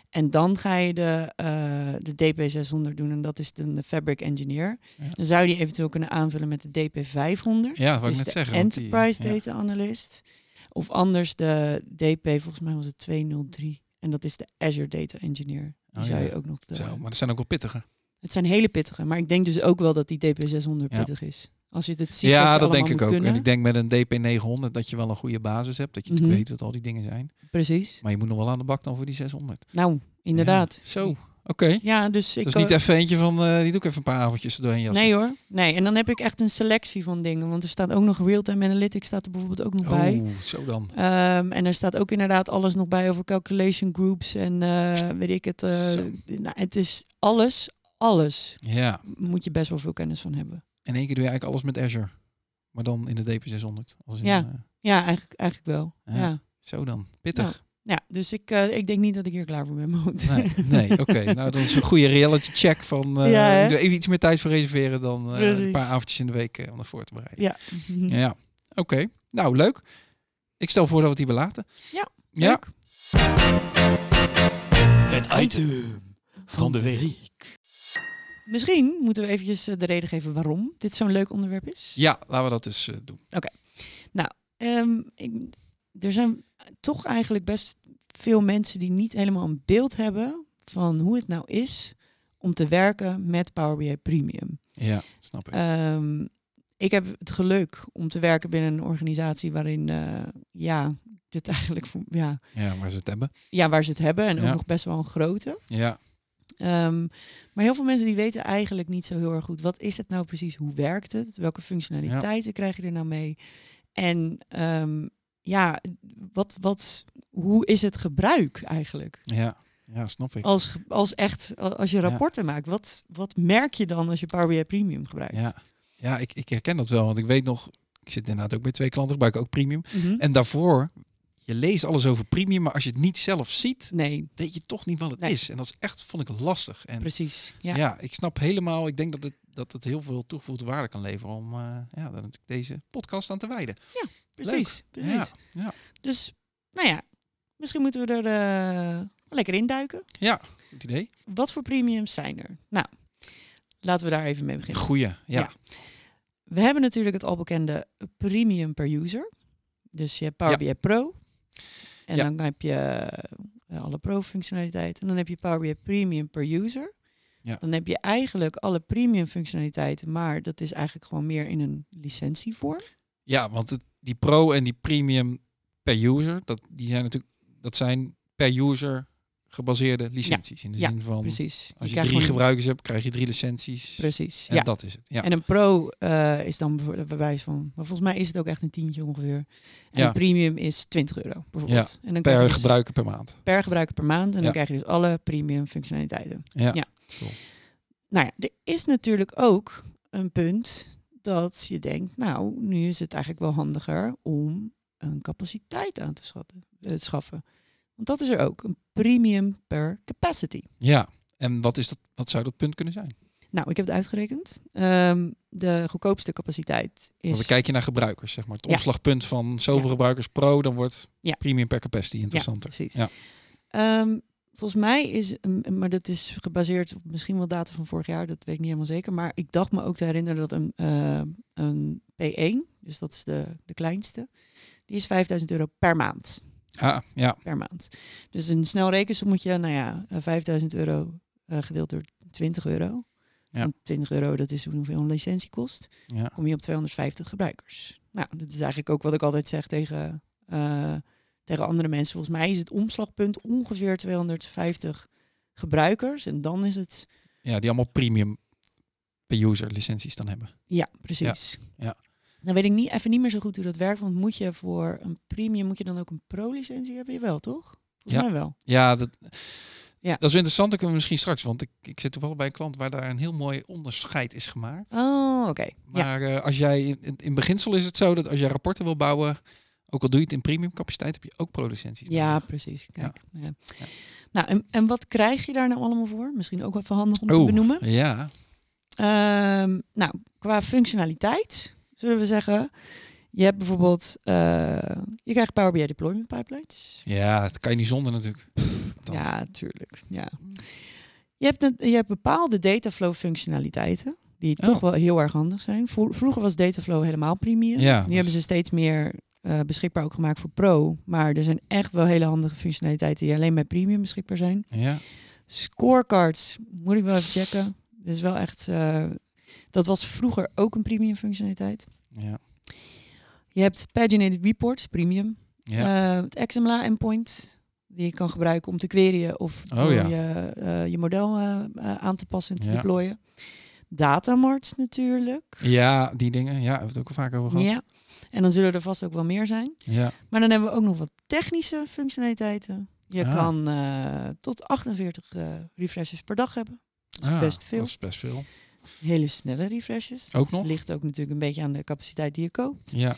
En dan ga je de, eh, de DP600 doen en dat is dan de Fabric Engineer.
Ja.
Dan zou je die eventueel kunnen aanvullen met de DP500.
Ja,
dat
wat ik
is
net
Dus de
zeggen. want die-
Enterprise
ja.
Data Analyst. Of anders de DP, volgens mij was het 203. En dat is de Azure Data Engineer. Die
Oh,
zou
ja.
je ook nog... De,
Zo, maar dat zijn ook wel pittige.
Het zijn hele pittige, maar ik denk dus ook wel dat die DP600
Ja.
pittig is. Als je het ziet wat je
Ja, dat
allemaal
denk ik
moet
ook.
kunnen.
En ik denk met een DP900 dat je wel een goede basis hebt. Dat je natuurlijk
Mhm.
weet wat al die dingen zijn.
Precies.
Maar je moet nog wel aan de bak dan voor die 600.
Nou, inderdaad.
Ja, Zo, oké.
Ja, dus ik
Dus
kan-
niet even eentje van, eh, die doe ik even een paar avondjes er doorheen jassen.
Nee hoor. Nee, en dan heb ik echt een selectie van dingen. Want er staat ook nog real-time analytics staat er bijvoorbeeld ook nog bij.
Oh, zo dan.
Ehm, en er staat ook inderdaad alles nog bij over calculation groups en eh, weet ik het. eh,
Zo.
nou, het is alles, alles
Ja.
moet je best wel veel kennis van hebben.
In één keer doe je eigenlijk alles met Azure. Maar dan in de DP600. Als in,
Ja.
eh,
Ja, eigenlijk, eigenlijk wel.
Ja.
Ja. Ja.
zo dan. Pittig.
dus ik, eh, ik denk niet dat ik hier klaar voor ben, Moot.
Nee, nee oké. Nou, dan is een goede reality check van... eh,
Ja, hè?
moeten we even iets meer tijd voor reserveren dan eh, een
Precies.
paar avondjes in de week eh, om dat voor te bereiden.
ja. Mhm.
Ja. Oké. Nou, leuk. Ik stel voor dat we het hier belaten.
Ja,
Ja.
leuk.
Het item van de week.
Misschien moeten we eventjes eh, de reden geven waarom dit zo'n leuk onderwerp is.
Ja, laten we dat dus eh, doen.
Ehm, ik- er zijn toch eigenlijk best veel mensen die niet helemaal een beeld hebben van hoe het nou is om te werken met Power BI Premium.
Ja, snap ik.
Ehm, ik heb het geluk om te werken binnen een organisatie waarin eh, ja, dit eigenlijk voor- ja,
ja, waar ze het hebben.
ja, waar ze het hebben en
Ja.
ook nog best wel een grote.
Ja,
Ehm, maar heel veel mensen die weten eigenlijk niet zo heel erg goed wat is het nou precies, hoe werkt het, welke functionaliteiten krijg je er nou mee en ehm, ja, wat, wat, hoe is het gebruik eigenlijk?
ja. Ja, snap ik.
Als, ge- als echt, a- als je
Ja.
rapporten maakt, wat, wat merk je dan als je Power BI Premium gebruikt?
Ja, ja ik, ik herken dat wel. Want ik weet nog, ik zit inderdaad ook bij twee klanten, gebruik ik ook premium.
Mhm.
En daarvoor, je leest alles over premium, maar als je het niet zelf ziet,
Nee,
weet je toch niet wat het
Nee.
is. En dat is echt, vond ik lastig. En
precies.
ja.
Ja.
ik snap helemaal, ik denk dat het, dat het heel veel toegevoegde waarde kan leveren om eh, ja, daar natuurlijk deze podcast aan te wijden.
Precies, precies.
Ja, ja.
Dus, nou ja, misschien moeten we er eh, lekker in duiken.
Goed idee.
Wat voor premiums zijn er? Nou, laten we daar even mee beginnen.
Goeie, ja.
Ja. We hebben natuurlijk het al bekende premium per user. Dus je hebt Power BI Pro. En
Ja.
dan heb je eh, alle pro-functionaliteiten. En dan heb je Power BI Premium per user.
Ja.
Dan heb je eigenlijk alle premium functionaliteiten, maar dat is eigenlijk gewoon meer in een licentievorm.
Ja, want het- die pro en die premium per user, dat, die zijn natuurlijk, dat zijn per user gebaseerde licenties. In de
ja,
zin van,
Precies.
als je
krijgt
drie
gewoon-
gebruikers hebt, krijg je drie licenties.
Precies.
En
ja.
dat is het. Ja.
En een pro eh, is dan bijvoorbeeld bij wijze van, maar volgens mij is het ook echt een tientje ongeveer. En
Ja.
een premium is 20 euro bijvoorbeeld. en dan krijg je
per
dus
gebruiker per maand.
per gebruiker per maand. En
Ja.
dan krijg je dus alle premium functionaliteiten.
Ja.
Ja. Nou ja, er is natuurlijk ook een punt dat je denkt, nou, nu is het eigenlijk wel handiger om een capaciteit aan te schatten, eh, schaffen. Want dat is er ook, een premium per capacity.
ja. En wat, is dat, wat zou dat punt kunnen zijn?
Nou, ik heb het uitgerekend. Ehm, de goedkoopste capaciteit is...
Want dan kijk je naar gebruikers, zeg maar. Het
Ja.
opslagpunt van zoveel
Ja.
gebruikers pro, dan wordt
Ja.
premium per capacity interessanter.
Ja, precies.
Ja.
Ehm, volgens mij is, een- maar dat is gebaseerd op misschien wel data van vorig jaar, dat weet ik niet helemaal zeker. Maar ik dacht me ook te herinneren dat een, eh, een P1, dus dat is de, de kleinste, die is 5000 euro per maand.
Ja, Ah, ja,
Per maand. Dus een snel rekensommetje, nou ja, eh, 5000 euro eh, gedeeld door 20 euro.
Ja.
Want 20 euro, dat is hoeveel een licentie kost
ja.
kom je op 250 gebruikers. Nou, dat is eigenlijk ook wat ik altijd zeg tegen, eh, tegen andere mensen. Volgens mij is het omslagpunt ongeveer 250 gebruikers. En dan is het.
Ja, die allemaal premium per user licenties dan hebben.
Ja, precies.
ja.
Dan weet ik niet, even niet meer zo goed hoe dat werkt. Want moet je voor een premium, moet je dan ook een pro-licentie hebben? Jawel, toch? Volgens
Ja.
mij wel.
Ja, dat,
Ja.
dat is interessant. Dat kunnen we misschien straks. Want ik, ik zit toevallig bij een klant waar daar een heel mooi onderscheid is gemaakt.
Oh, oké. Ja.
Maar eh, als jij in, in, in beginsel is het zo dat als jij rapporten wil bouwen, ook al doe je het in premium capaciteit, heb je ook pro-licenties.
ja,
nodig.
precies.
Ja.
Kijk. ja. Nou, en, en wat krijg je daar nou allemaal voor? Misschien ook wel even handig om te
Oeh,
benoemen.
Ja,
Ehm, nou, qua functionaliteit zullen we zeggen. Je hebt bijvoorbeeld, eh, je krijgt Power BI deployment pipelines.
ja, dat kan je niet zonder natuurlijk. Althans.
Ja, tuurlijk. Ja. Je, hebt net- je hebt bepaalde dataflow functionaliteiten, die
Oh.
toch wel heel erg handig zijn. Vro- Vroeger was dataflow helemaal premium.
Ja,
nu
dat
hebben
is-
ze steeds meer eh, beschikbaar ook gemaakt voor pro. Maar er zijn echt wel hele handige functionaliteiten die alleen bij premium beschikbaar zijn.
Ja,
Scorecards moet ik wel even checken. Dit is wel echt. eh, dat was vroeger ook een premium functionaliteit.
ja,
Je hebt paginated reports, premium.
ja.
Eh, het XML endpoint. die je kan gebruiken om te queryen of
Oh,
om
ja.
je, eh, je model eh, eh, aan te passen en te
Ja.
deployen. Datamarts natuurlijk.
Ja, die dingen. Ja, hebben we het ook al vaak over gehad. Ja.
Ja. En dan zullen er vast ook wel meer zijn. Maar dan hebben we ook nog wat technische functionaliteiten. Je
Ah.
kan eh, tot 48 eh, refreshes per dag hebben. Dat is
Ah,
best veel.
Dat is best veel.
Hele snelle refreshes.
Ook
Dat
nog?
ligt ook natuurlijk een beetje aan de capaciteit die je koopt.
Ja.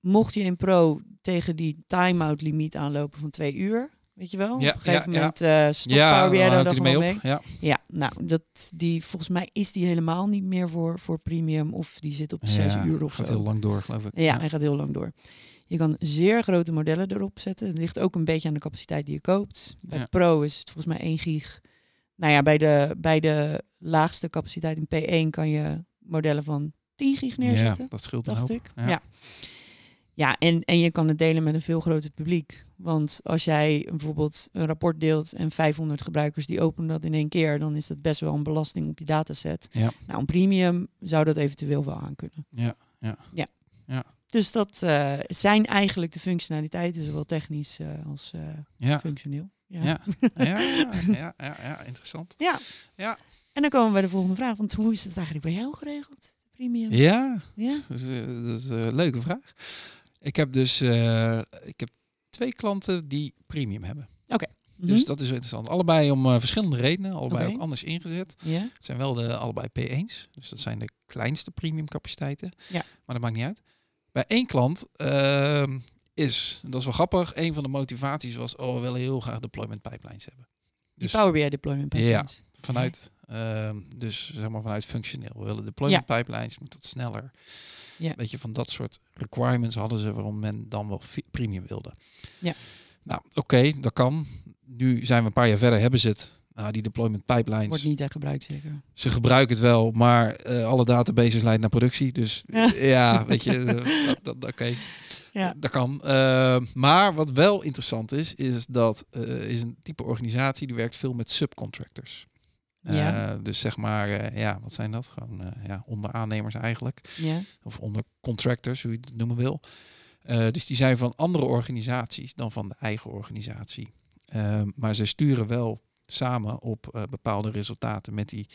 Mocht je in Pro tegen die time-out limiet aanlopen van twee uur, weet je wel?
Ja,
op een gegeven
ja,
moment eh stopt
ja,
Power BI daar
houdt
dan
hij
gewoon
ermee
mee.
op. Ja.
Ja, nou, dat, die, volgens mij is die helemaal niet meer voor, voor premium of die zit op
Ja,
zes uur of
Gaat
zo.
heel lang door, geloof ik.
Ja, hij gaat heel lang door. Je kan zeer grote modellen erop zetten. Het ligt ook een beetje aan de capaciteit die je koopt. Bij
Ja.
Pro is het volgens mij 1 gig. Nou ja, bij de, bij de laagste capaciteit in P1 kan je modellen van 10 gig
ja
neerzetten,
dat scheelt een
dacht
hoop.
ik.
Ja.
Ja, ja. en, en je kan het delen met een veel groter publiek. Want als jij bijvoorbeeld een rapport deelt en 500 gebruikers die openen dat in één keer, dan is dat best wel een belasting op je dataset.
Ja.
Nou, een premium zou dat eventueel wel aankunnen.
Ja, ja.
ja.
Ja.
Dus dat eh, zijn eigenlijk de functionaliteiten, zowel technisch eh, als eh,
Ja.
functioneel. Ja.
Ja. Ja. Ja. ja, ja, ja, interessant.
Ja.
Ja.
En dan komen we bij de volgende vraag, want hoe is het eigenlijk bij jou geregeld? Premium?
Ja,
Ja?
Dat is, eh, dat is een leuke vraag. Ik heb dus eh, ik heb twee klanten die premium hebben.
Mhm.
Dus dat is wel interessant. Allebei om eh, verschillende redenen, allebei
Oké.
ook anders ingezet.
Mhm. ja?
Het zijn wel de allebei P1's. Dus dat zijn de kleinste premium capaciteiten.
Ja.
Maar dat maakt niet uit. Bij één klant ehm, is, en dat is wel grappig, een van de motivaties was, oh, we willen heel graag deployment pipelines hebben.
Die
Dus-
Power BI deployment pipelines.
Vanuit, ehm, dus zeg maar vanuit functioneel. We willen deployment pipelines, moet dat sneller.
Ja.
Weet je, van dat soort requirements hadden ze waarom men dan wel fi- premium wilde.
Ja.
Nou, oké, dat kan. Nu zijn we een paar jaar verder, hebben ze het. Nou, die deployment pipelines,
Wordt niet echt gebruikt zeker.
ze gebruiken het wel, maar eh, alle databases leiden naar productie. Dus
Ja.
ja, weet je, eh, dat, dat, oké.
Ja.
Dat kan. Eh, maar wat wel interessant is, is dat eh, is een type organisatie die werkt veel met subcontractors.
Ja.
Eh, dus zeg maar, eh, ja, wat zijn dat? Gewoon eh, ja, onderaannemers eigenlijk.
Ja.
Of ondercontractors, hoe je het noemen wil. Eh, dus die zijn van andere organisaties dan van de eigen organisatie. Eh, maar ze sturen wel samen op eh, bepaalde resultaten met die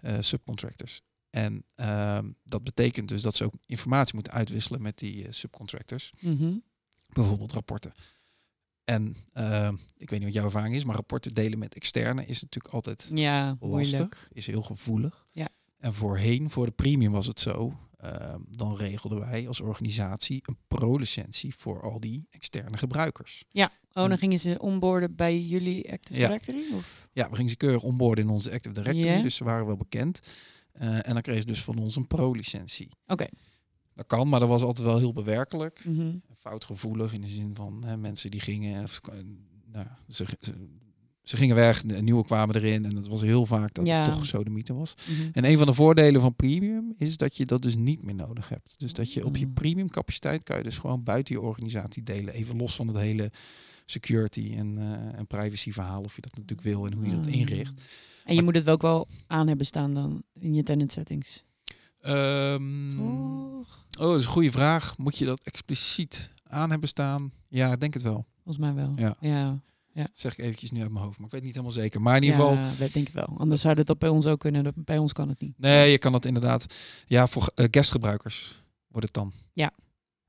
eh, subcontractors. En ehm, dat betekent dus dat ze ook informatie moeten uitwisselen met die eh, subcontractors
Mhm.
bijvoorbeeld rapporten. En eh, ik weet niet wat jouw ervaring is, maar rapporten delen met externen is natuurlijk altijd
Ja, moeilijk.
lastig, is heel gevoelig.
Ja.
En voorheen, voor de premium was het zo, eh, dan regelden wij als organisatie een pro-licentie voor al die externe gebruikers.
Oh, dan gingen ze onboarden bij jullie Active
Ja.
Directory? Of?
Ja, we gingen ze keurig onboarden in onze Active Directory,
Ja.
dus ze waren wel bekend. Eh, en dan kregen ze dus van ons een pro-licentie.
Oké.
Dat kan, maar dat was altijd wel heel bewerkelijk.
Mhm.
foutgevoelig in de zin van hè, mensen die gingen, of, eh, nou, ze, ze, ze gingen weg, de nieuwe kwamen erin en dat was heel vaak dat
Ja.
het toch zo de mythe was.
Mhm.
En een van de voordelen van premium is dat je dat dus niet meer nodig hebt. Dus dat je op je
Oh.
premium capaciteit kan je dus gewoon buiten je organisatie delen, even los van het hele security en, eh, en privacy verhaal of je dat natuurlijk wil en hoe je dat
Ah.
inricht.
En je moet het ook wel aan hebben staan dan in je tenant settings.
Ehm,
Toch?
oh, dat is een goede vraag. Moet je dat expliciet aan hebben staan? Ja, ik denk het wel.
Volgens mij wel.
Ja.
ja.
Zeg ik eventjes nu uit mijn hoofd, maar ik weet niet helemaal zeker. Maar in ieder geval,
Ja, dat denk ik wel. Anders zou dat bij ons ook kunnen. dat- Bij ons kan het niet.
nee, je kan dat inderdaad. Ja, voor eh, guestgebruikers wordt het dan.
Ja.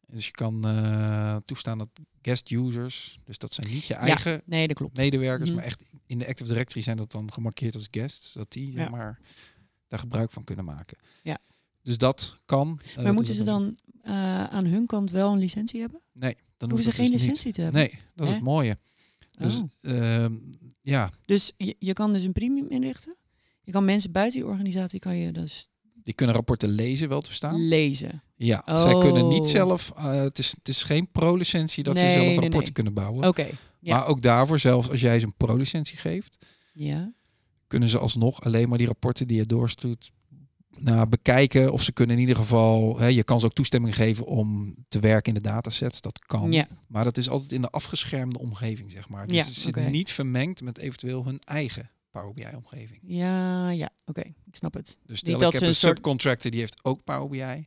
Dus je kan eh, toestaan dat guest users, dus dat zijn niet je eigen
Nee, dat klopt.
medewerkers,
Mhm.
maar echt in de Active Directory zijn dat dan gemarkeerd als guests, dat die zeg
Ja.
maar daar gebruik van kunnen maken.
Ja.
Dus dat kan. Eh, dat
maar
is
moeten ze
ook-
dan eh, aan hun kant wel een licentie hebben?
Nee, dan
Hoeven ze
hoeft
geen
het dus niet.
licentie te hebben?
Nee, dat is
Hè?
het mooie. Dus
Oh.
ehm, ja,
Dus je, je kan dus een premium inrichten. Je kan mensen buiten je organisatie kan je dus
die kunnen rapporten lezen wel te verstaan.
lezen.
Ja, zij kunnen niet
Oh.
zelf. eh, het, is, het is geen pro-licentie dat ze
Nee,
zelf
nee,
rapporten
nee.
kunnen bouwen.
Oké. ja.
Maar ook daarvoor, zelfs als jij ze een pro-licentie geeft,
Ja.
kunnen ze alsnog alleen maar die rapporten die je doorstuurt nou, bekijken. Of ze kunnen in ieder geval, hè, je kan ze ook toestemming geven om te werken in de datasets. Dat kan.
Ja.
Maar dat is altijd in de afgeschermde omgeving, zeg maar. Dus
Ja,
het zit
oké.
niet vermengd met eventueel hun eigen Power BI-omgeving.
Ja, ja. Oké, ik snap het.
Dus stel,
dat
ik heb
ze
een
een soort-
subcontractor die heeft ook Power BI.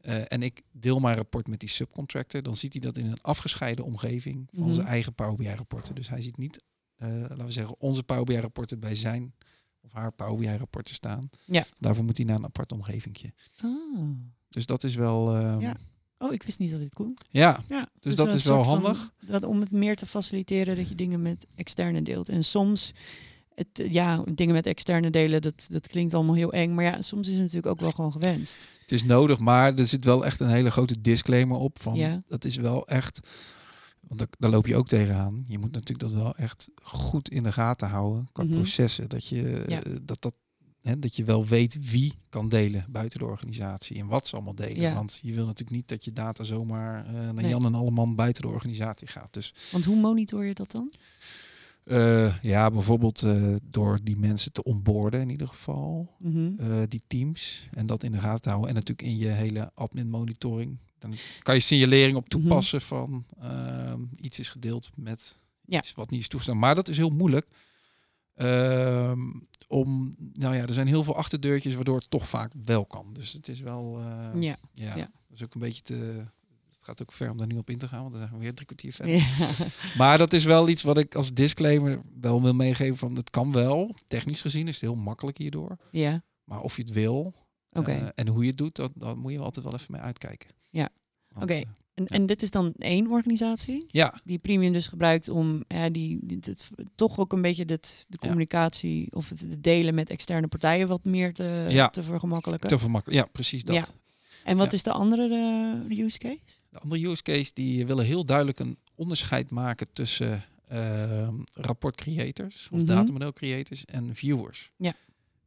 Eh, en ik deel mijn rapport met die subcontractor. Dan ziet hij dat in een afgescheiden omgeving van
Mhm.
zijn eigen Power BI rapporten. Dus hij ziet niet, eh, laten we zeggen, onze Power BI rapporten bij zijn of haar Power BI rapporten staan.
Ja.
Daarvoor moet hij naar een apart omgevingje.
Ah.
Dus dat is wel... ehm,
Ja. Oh, ik wist niet dat dit kon.
ja,
Ja,
Dus dat
een
is wel
soort van-
handig.
dat om het meer te faciliteren dat je dingen met externe deelt. En soms, het, ja, dingen met externe delen, dat, dat klinkt allemaal heel eng. Maar ja, soms is het natuurlijk ook wel gewoon gewenst.
het is nodig, maar er zit wel echt een hele grote disclaimer op van
Ja.
dat is wel echt, want daar, daar loop je ook tegenaan. Je moet natuurlijk dat wel echt goed in de gaten houden qua
Mhm.
processen, dat je
Ja.
eh, dat dat hè, dat je wel weet wie kan delen buiten de organisatie en wat ze allemaal delen.
Ja.
Want je wil natuurlijk niet dat je data zomaar eh, naar
Nee.
Jan en Alleman buiten de organisatie gaat. Dus
Want hoe monitor je dat dan?
eh, ja, bijvoorbeeld eh, door die mensen te onboorden in ieder geval
Mhm.
eh, die teams en dat in de gaten houden. En natuurlijk in je hele admin monitoring. Dan kan je signalering op toepassen van ehm, iets is gedeeld met
Mhm. Ja.
iets wat niet is toegestaan. Maar dat is heel moeilijk. Ehm, om, nou ja, er zijn heel veel achterdeurtjes waardoor het toch vaak wel kan. Dus het is wel, eh, ja,
ja. ja.
dat is ook een beetje te... Het gaat ook ver om daar nu op in te gaan, want dan zijn we weer drie kwartier verder.
Ja.
Maar dat is wel iets wat ik als disclaimer wel wil meegeven van het kan wel. Technisch gezien is het heel makkelijk hierdoor.
ja.
Maar of je het wil,
Oké.
eh, en hoe je het doet, dat, dat moet je wel altijd wel even mee uitkijken.
Ja.
Want,
Oké.
eh,
En, en dit is dan één organisatie
ja,
die Premium dus gebruikt om ja, die, die- dit- toch ook een beetje dit, de
Ja.
communicatie of het, het delen met externe partijen wat meer te,
Ja.
te vergemakkelijken.
te vermakkelijk. Ja, precies dat.
Ja. En wat
Ja.
is de andere eh, use case?
De andere use case, die willen heel duidelijk een onderscheid maken tussen ehm, rapport creators of
Mhm.
datamodel creators en viewers.
Ja.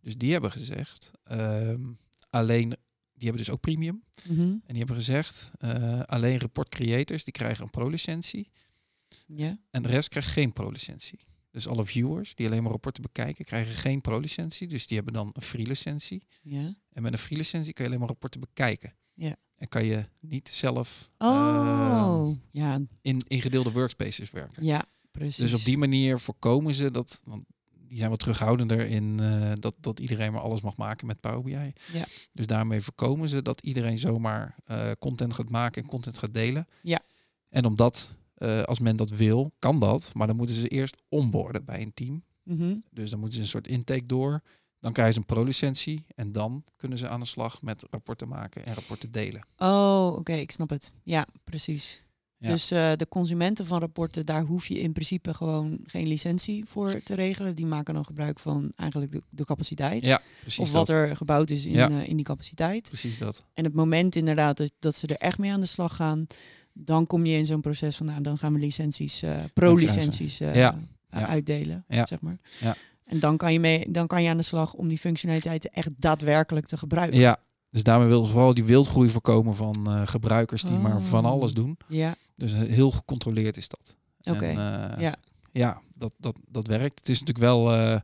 Dus die hebben gezegd, ehm, alleen, die hebben dus ook premium.
Mhm.
En die hebben gezegd, eh, alleen rapport creators, die krijgen een pro-licentie.
Ja.
En de rest krijgt geen pro-licentie. Dus alle viewers die alleen maar rapporten bekijken, krijgen geen pro-licentie. Dus die hebben dan een free licentie.
Ja.
En met een free licentie kan je alleen maar rapporten bekijken.
Ja.
En kan je niet zelf
Oh, ja,
eh, in, in gedeelde workspaces werken.
ja, precies.
Dus op die manier voorkomen ze dat, want die zijn wat terughoudender in eh, dat, dat iedereen maar alles mag maken met Power BI.
Ja.
Dus daarmee voorkomen ze dat iedereen zomaar eh, content gaat maken en content gaat delen.
Ja.
En omdat, eh, als men dat wil, kan dat, maar dan moeten ze eerst onboarden bij een team.
Mhm.
Dus dan moeten ze een soort intake door. Dan krijgen ze een pro-licentie en dan kunnen ze aan de slag met rapporten maken en rapporten delen.
Oh, oké, ik snap het. Ja, precies.
Ja.
Dus eh, de consumenten van rapporten, daar hoef je in principe gewoon geen licentie voor te regelen. Die maken dan gebruik van eigenlijk de, de capaciteit.
Ja, precies
of wat
dat.
er gebouwd is in,
Ja.
eh, in die capaciteit.
Precies dat.
En het moment inderdaad dat, dat ze er echt mee aan de slag gaan, dan kom je in zo'n proces van, nou, dan gaan we licenties, eh, pro-licenties eh,
Ja.
eh,
Ja.
uitdelen,
Ja.
zeg maar.
Ja.
En dan kan, je mee, dan kan je aan de slag om die functionaliteiten echt daadwerkelijk te gebruiken.
Ja, dus daarmee willen ze vooral die wildgroei voorkomen van eh, gebruikers die maar van
Oh.
alles doen.
Ja,
Dus heel gecontroleerd is dat.
oké.
En, eh,
ja.
ja, dat, dat, dat werkt. Het is natuurlijk wel, eh, ja,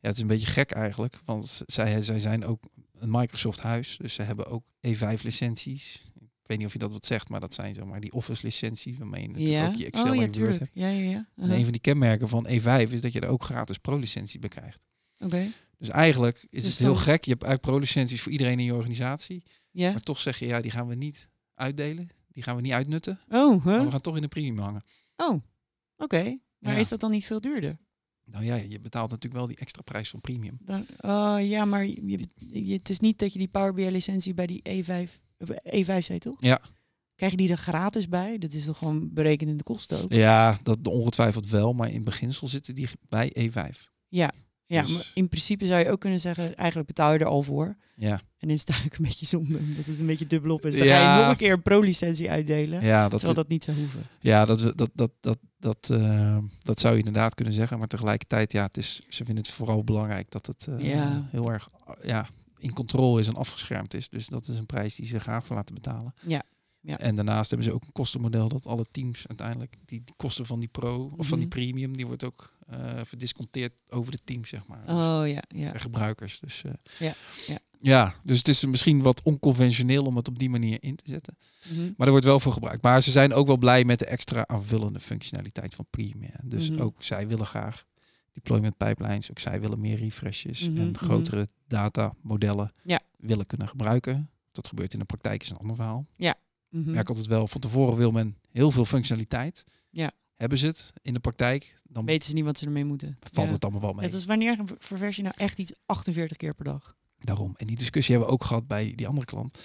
het is een beetje gek eigenlijk, want zij, zij zijn ook een Microsoft huis, dus ze hebben ook E5 licenties. Ik weet niet of je dat wat zegt, maar dat zijn zeg maar die Office licenties waarmee je natuurlijk
ja.
ook je Excel
oh, ja,
en Word
tuurlijk. Uh-huh.
hebt.
Ja, ja, ja.
En
Aha.
een van die kenmerken van E5 is dat je er ook gratis pro-licentie bij krijgt.
Oké.
Dus eigenlijk is
Dus
het heel
dan-
gek. Je hebt eigenlijk pro-licenties voor iedereen in je organisatie.
Ja.
Maar toch zeg je, ja, die gaan we niet uitdelen. Die gaan we niet uitnutten.
Oh,
Maar
huh?
we gaan toch in de premium hangen.
Oh, oké. Maar
Ja.
is dat dan niet veel duurder?
Nou ja, je betaalt natuurlijk wel die extra prijs van premium.
Dan, oh, ja, maar je, je- het is niet dat je die Power BI licentie bij die E E5, E5 zei, toch?
Ja.
Krijg je die er gratis bij? Dat is toch gewoon berekend in de kosten ook?
Ja, dat ongetwijfeld wel. Maar in beginsel zitten die bij E E5.
Ja,
dus-
maar in principe zou je ook kunnen zeggen, eigenlijk betaal je er al voor.
Ja,
En dan is het eigenlijk een beetje zonde, omdat het een beetje dubbelop is. Dan ga
Ja.
je nog een keer een pro-licentie uitdelen,
ja, dat,
terwijl dat niet zou hoeven.
ja dat, dat, dat, dat, dat, eh, dat zou je inderdaad kunnen zeggen. Maar tegelijkertijd, ja, het is, ze vinden het vooral belangrijk dat het eh,
Ja.
heel erg ah, ja, in controle is en afgeschermd is. Dus dat is een prijs die ze graag voor laten betalen.
Ja, ja.
En daarnaast hebben ze ook een kostenmodel dat alle teams uiteindelijk die, die kosten van die pro of van die
Mhm.
premium, die wordt ook eh, verdisconteerd over de teams, zeg maar. Dus
Oh ja, ja.
per gebruikers. Dus, eh,
Ja, ja.
ja, dus het is misschien wat onconventioneel om het op die manier in te zetten.
Mhm.
Maar er wordt wel voor gebruikt. Maar ze zijn ook wel blij met de extra aanvullende functionaliteit van Premium. Dus
Mhm.
ook zij willen graag deployment pipelines. Ook zij willen meer refreshes
Mhm,
en grotere data modellen
Ja.
willen kunnen gebruiken. dat gebeurt in de praktijk is een ander verhaal.
Mhm.
Ik merk altijd wel, van tevoren wil men heel veel functionaliteit.
Ja.
Hebben ze het in de praktijk, dan
Weten ze niet wat ze ermee moeten.
valt
Ja.
het allemaal wel mee.
Het is wanneer ververs je nou echt iets 48 keer per dag?
Daarom. En die discussie hebben we ook gehad bij die andere klant.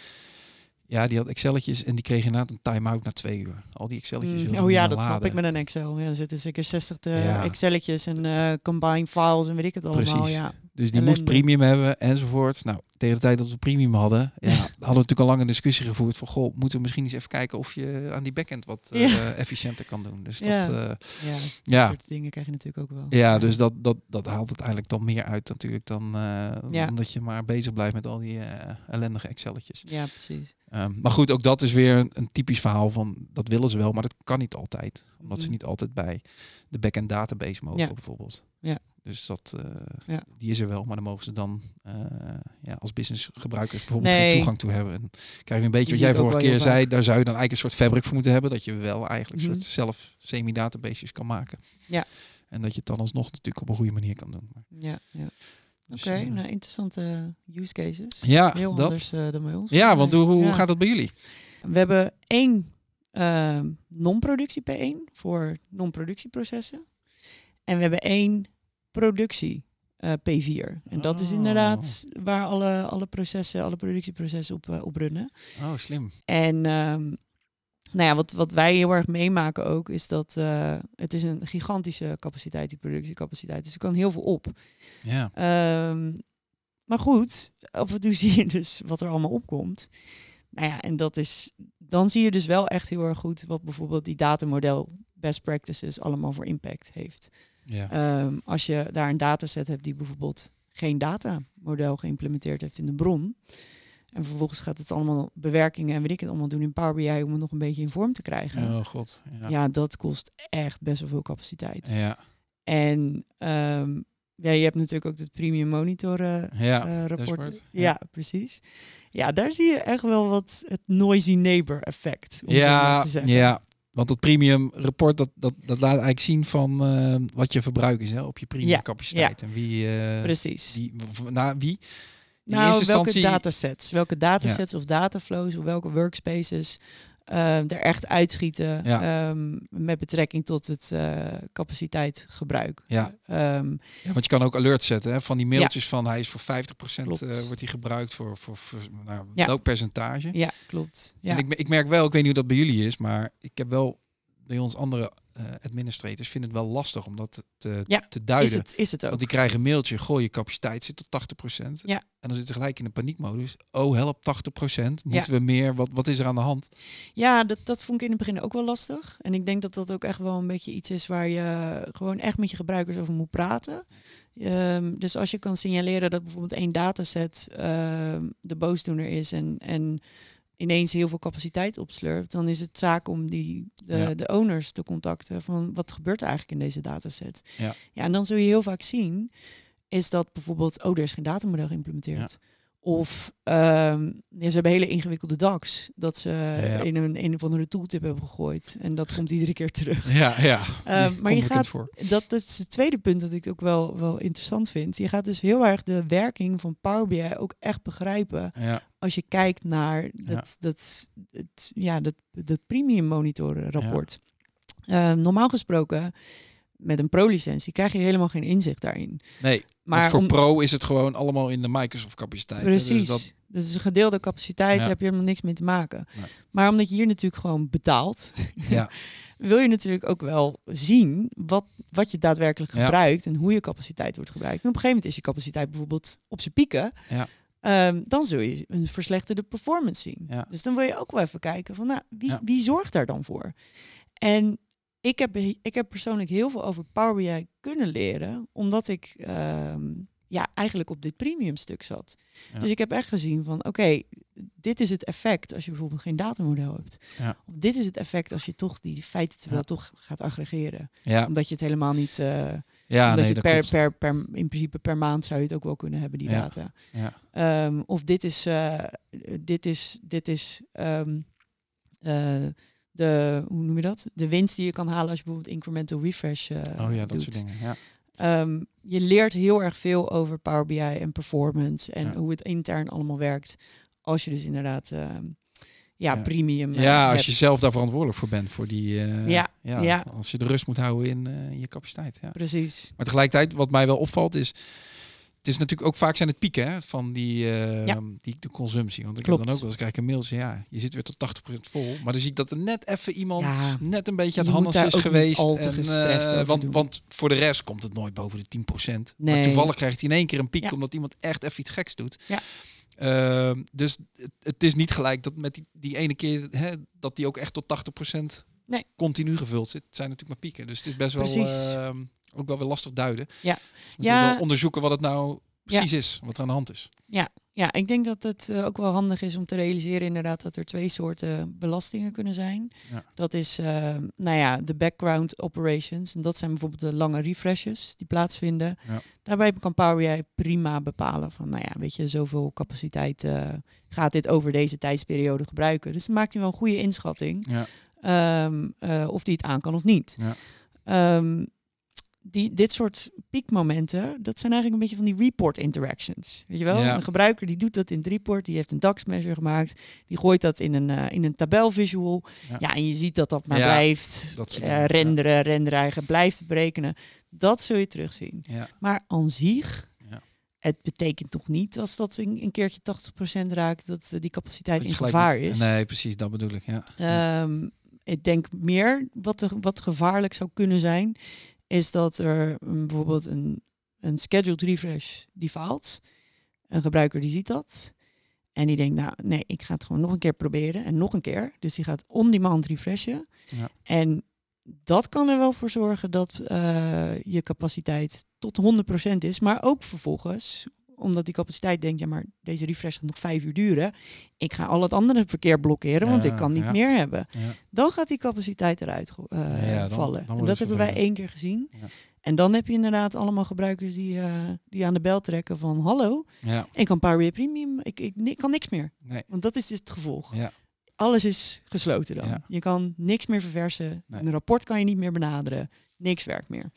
Ja, die had Excelletjes en die kreeg inderdaad een time-out na twee uur. Al die Excelletjes.
Mm,
wilden ze
Oh ja,
niet
dat
meer
snap ik
laden.
met een Excel. Ja, er zitten zeker 60 eh,
Ja.
Excelletjes en eh combine files en weet ik het allemaal.
Precies.
Ja.
Dus die moest
ellende.
premium hebben enzovoort. Nou, tegen de tijd dat we premium hadden, ja, hadden we natuurlijk al lang een discussie gevoerd van, goh, moeten we misschien eens even kijken of je aan die backend wat eh,
Ja.
efficiënter kan doen. Dus dat,
Ja.
ja,
ja, dat
ja.
soort dingen krijg je natuurlijk ook wel.
ja dus dat, dat, dat haalt uiteindelijk dan meer uit natuurlijk dan, eh,
Ja.
dan dat je maar bezig blijft met al die eh, ellendige Excelletjes.
Ja, precies.
Ehm, maar goed, ook dat is weer een, een typisch verhaal van dat willen ze wel, maar dat kan niet altijd. Omdat ze
Mhm.
niet altijd bij de back-end database mogen,
Ja.
bijvoorbeeld.
Ja.
Dus dat, eh,
Ja.
die is er wel, maar dan mogen ze dan eh, ja, als business gebruikers bijvoorbeeld
Nee.
geen toegang toe hebben. En krijg je een beetje
zie
wat jij
ik
vorige
ook wel
keer
heel
zei, daar zou je dan eigenlijk een soort fabric voor moeten hebben. Dat je wel eigenlijk een
Mhm.
soort zelf semi-databases kan maken.
Ja.
En dat je het dan alsnog natuurlijk op een goede manier kan doen. Maar,
Ja, ja.
dus,
Oké,
eh,
nou interessante use cases.
ja,
Heel
dat.
anders eh, dan bij ons.
Ja, want hoe, hoe
Ja.
gaat dat bij jullie?
We hebben één ehm, non-productie P1 voor non-productieprocessen. En we hebben één productie eh, P4. En dat is
Oh.
inderdaad waar alle, alle processen, alle productieprocessen op, eh, op runnen.
Oh, slim.
En ehm, nou ja, wat, wat wij heel erg meemaken ook, is dat eh, het is een gigantische capaciteit, die productiecapaciteit. Dus er kan heel veel op.
Ja.
Ehm, maar goed, af en toe zie je dus wat er allemaal opkomt. Nou ja, en dat is, dan zie je dus wel echt heel erg goed wat bijvoorbeeld die datamodel best practices allemaal voor impact heeft.
ja.
Ehm, als je daar een dataset hebt die bijvoorbeeld geen datamodel geïmplementeerd heeft in de bron. En vervolgens gaat het allemaal bewerkingen en weet ik het allemaal doen in Power BI om het nog een beetje in vorm te krijgen.
Oh god.
Ja,
Ja.
dat kost echt best wel veel capaciteit.
Ja.
En ehm, ja, je hebt natuurlijk ook het premium monitoren
Ja.
eh, rapport.
dashboard,
Ja, precies. Ja, daar zie je echt wel wat het noisy neighbor effect. om het maar
ja,
te zeggen.
ja. Want dat premium rapport dat, dat, dat laat eigenlijk zien van eh, wat je verbruik is hè, op je premium
Ja,
capaciteit. En wie, eh,
precies.
die, v- na, wie? In
nou,
eerste
welke
instantie-
datasets, welke datasets of dataflows of welke workspaces eh, er echt uitschieten
Ja.
ehm, met betrekking tot het eh, capaciteitgebruik.
Ja.
Ehm,
Ja, want je kan ook alert zetten hè, van die mailtjes van hij is voor 50%
Klopt.
eh, wordt hij gebruikt voor, voor, voor nou,
Ja.
welk percentage.
ja, klopt. Ja.
En ik, me- ik merk wel, ik weet niet hoe dat bij jullie is, maar ik heb wel bij ons andere eh, administrators vinden het wel lastig om dat te,
Ja,
te
is,
duiden.
het, is het ook.
Want die krijgen een mailtje, gooi je capaciteit zit tot 80%.
Ja.
En dan zitten ze gelijk in de paniekmodus. Oh, help, 80%. Moeten we meer? Wat, wat is er aan de hand?
Ja, dat, dat vond ik in het begin ook wel lastig. En ik denk dat dat ook echt wel een beetje iets is waar je gewoon echt met je gebruikers over moet praten. Ehm, dus als je kan signaleren dat bijvoorbeeld één dataset ehm, de boosdoener is en, en ineens heel veel capaciteit opslurpt, dan is het zaak om die, de,
Ja.
de owners te contacten van wat gebeurt er eigenlijk in deze dataset.
Ja.
ja, en dan zul je heel vaak zien, is dat bijvoorbeeld, oh, er is geen datamodel geïmplementeerd. Of ehm, ja, ze hebben hele ingewikkelde DAX. Dat ze
ja.
in een, een of andere tooltip hebben gegooid. En dat komt iedere keer terug.
Ja, ja.
Ehm,
Die
maar je
komt bekend
gaat, dat, dat is het tweede punt dat ik ook wel, wel interessant vind. Je gaat dus heel erg de werking van Power BI ook echt begrijpen.
Ja,
Als je kijkt naar dat, dat, het, ja, dat, dat premium monitoren rapport. Ehm, normaal gesproken, met een pro-licentie krijg je helemaal geen inzicht daarin.
nee. Maar
Maar
voor
om-
pro is het gewoon allemaal in de Microsoft capaciteit. hè. Dus
Precies.
dat-
Dus, een gedeelde capaciteit,
Ja.
heb je helemaal niks mee te maken.
Nee.
Maar omdat je hier natuurlijk gewoon betaalt,
ja,
wil je natuurlijk ook wel zien wat, wat je daadwerkelijk
Ja.
gebruikt en hoe je capaciteit wordt gebruikt. En op een gegeven moment is je capaciteit bijvoorbeeld op zijn pieken.
Ja.
Ehm, dan zul je een verslechterde performance zien.
Ja.
Dus dan wil je ook wel even kijken van nou, wie,
Ja.
wie zorgt daar dan voor? En ik heb, ik heb persoonlijk heel veel over Power BI kunnen leren, omdat ik ehm, ja, eigenlijk op dit premium stuk zat.
Ja.
Dus ik heb echt gezien van oké, dit is het effect als je bijvoorbeeld geen datamodel hebt.
Ja.
Of dit is het effect als je toch die feiten terwijl
Ja.
toch gaat aggregeren.
ja,
Omdat je het helemaal niet. eh
ja,
omdat
nee,
je
dat
het per,
klopt.
per, per, in principe per maand zou je het ook wel kunnen hebben, die
Ja.
data.
Ja.
Ehm, of dit is, eh, dit is, dit is ehm, eh, de, hoe noem je dat? De winst die je kan halen als je bijvoorbeeld incremental refresh eh
Oh ja, dat
doet.
soort dingen. Ja,
Ehm, je leert heel erg veel over Power BI en performance en
Ja.
hoe het intern allemaal werkt Als je dus inderdaad eh,
Ja.
ja, premium eh,
Ja, als
hebt.
je zelf daar verantwoordelijk voor bent. Voor die, eh,
Ja, ja.
Als je de rust moet houden in eh, je capaciteit. Ja.
Precies.
Maar tegelijkertijd, wat mij wel opvalt, is. Het is natuurlijk ook vaak zijn het pieken hè, van die, eh,
Ja.
die de consumptie. Want ik
Klopt.
heb dan ook wel eens kijk een mailtje. Ja, je zit weer tot 80% vol. Maar dan zie ik dat er net even iemand
Ja.
net een beetje aan
Je
het
moet
handels
daar
is
ook niet
geweest.
al te
eh,
gestrest over
want,
doen.
want voor de rest komt het nooit boven de 10%. Maar
Nee.
toevallig krijgt hij in één keer een piek
Ja.
omdat iemand echt even iets geks doet.
Ja.
Ehm, dus het, het is niet gelijk dat met die, die ene keer hè, dat die ook echt tot 80%
Nee.
continu gevuld zit. Het zijn natuurlijk maar pieken. Dus het is best wel
Precies.
ehm, ook wel weer lastig duiden.
Ja.
Dus we moeten
Ja.
wel onderzoeken wat het nou precies is, wat er aan de hand is.
Ja, ik denk dat het eh, ook wel handig is om te realiseren inderdaad dat er twee soorten belastingen kunnen zijn.
Ja.
Dat is, eh, nou ja, de background operations. En dat zijn bijvoorbeeld de lange refreshes die plaatsvinden.
Ja.
Daarbij kan Power BI prima bepalen van, nou ja, weet je, zoveel capaciteit eh, gaat dit over deze tijdsperiode gebruiken. Dus dan maakt hij wel een goede inschatting
Ja.
ehm, eh, of die het aan kan of niet.
Ja.
Ehm, die, dit soort piekmomenten, dat zijn eigenlijk een beetje van die report interactions. Weet je wel?
Ja.
Een gebruiker die doet dat in het report, die heeft een DAX measure gemaakt, die gooit dat in een, eh, in een tabelvisual.
Ja.
Ja. en je ziet dat dat maar
Ja,
blijft
dat soort
eh,
dingen, ja.
renderen, renderen eigen, blijft berekenen. Dat zul je terugzien.
Ja.
Maar aan zich,
Ja.
het betekent toch niet als dat een, een keertje 80% raakt, dat eh, die capaciteit
Dat je
in
gelijk
gevaar
moet-
is.
Nee, precies, dat bedoel ik. Ja.
Ehm, ik denk meer wat, er, wat gevaarlijk zou kunnen zijn, is dat er mm, bijvoorbeeld een, een scheduled refresh die faalt. Een gebruiker die ziet dat. En die denkt, nou nee, ik ga het gewoon nog een keer proberen en nog een keer. Dus die gaat on-demand refreshen.
Ja.
En dat kan er wel voor zorgen dat eh, je capaciteit tot 100% is. Maar ook vervolgens, omdat die capaciteit denkt, ja maar deze refresh gaat nog vijf uur duren. Ik ga al het andere verkeer blokkeren, want
Ja,
ik kan niet
ja.
meer hebben.
Ja.
Dan gaat die capaciteit eruit go- eh,
Ja, ja, dan- dan
vallen.
wordt
en
het
dat hebben wij
vervelend.
één keer gezien.
Ja.
En dan heb je inderdaad allemaal gebruikers die, eh, die aan de bel trekken van hallo,
Ja.
ik kan Power BI Premium, ik, ik, ik kan niks meer.
Nee.
Want dat is dus het gevolg.
Ja.
Alles is gesloten dan.
Ja.
Je kan niks meer verversen.
Nee.
Een rapport kan je niet meer benaderen. Niks werkt meer.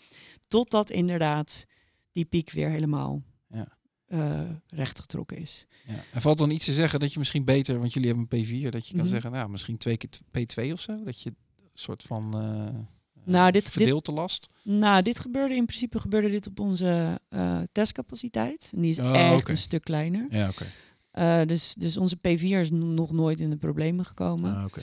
Totdat inderdaad die piek weer helemaal
Ja.
eh, rechtgetrokken is.
Ja. Er valt dan iets te zeggen dat je misschien beter, want jullie hebben een P4, dat je kan
Mhm.
zeggen, nou, misschien twee keer t- P2 of zo. Dat je een soort van eh,
Nou, dit- dit-
verdeelte last.
Nou, dit gebeurde in principe gebeurde dit op onze eh, testcapaciteit. En die is
Oh,
echt
oké.
een stuk kleiner.
Ja, oké.
Eh, dus, dus onze P4 is n- nog nooit in de problemen gekomen.
Ah, oké.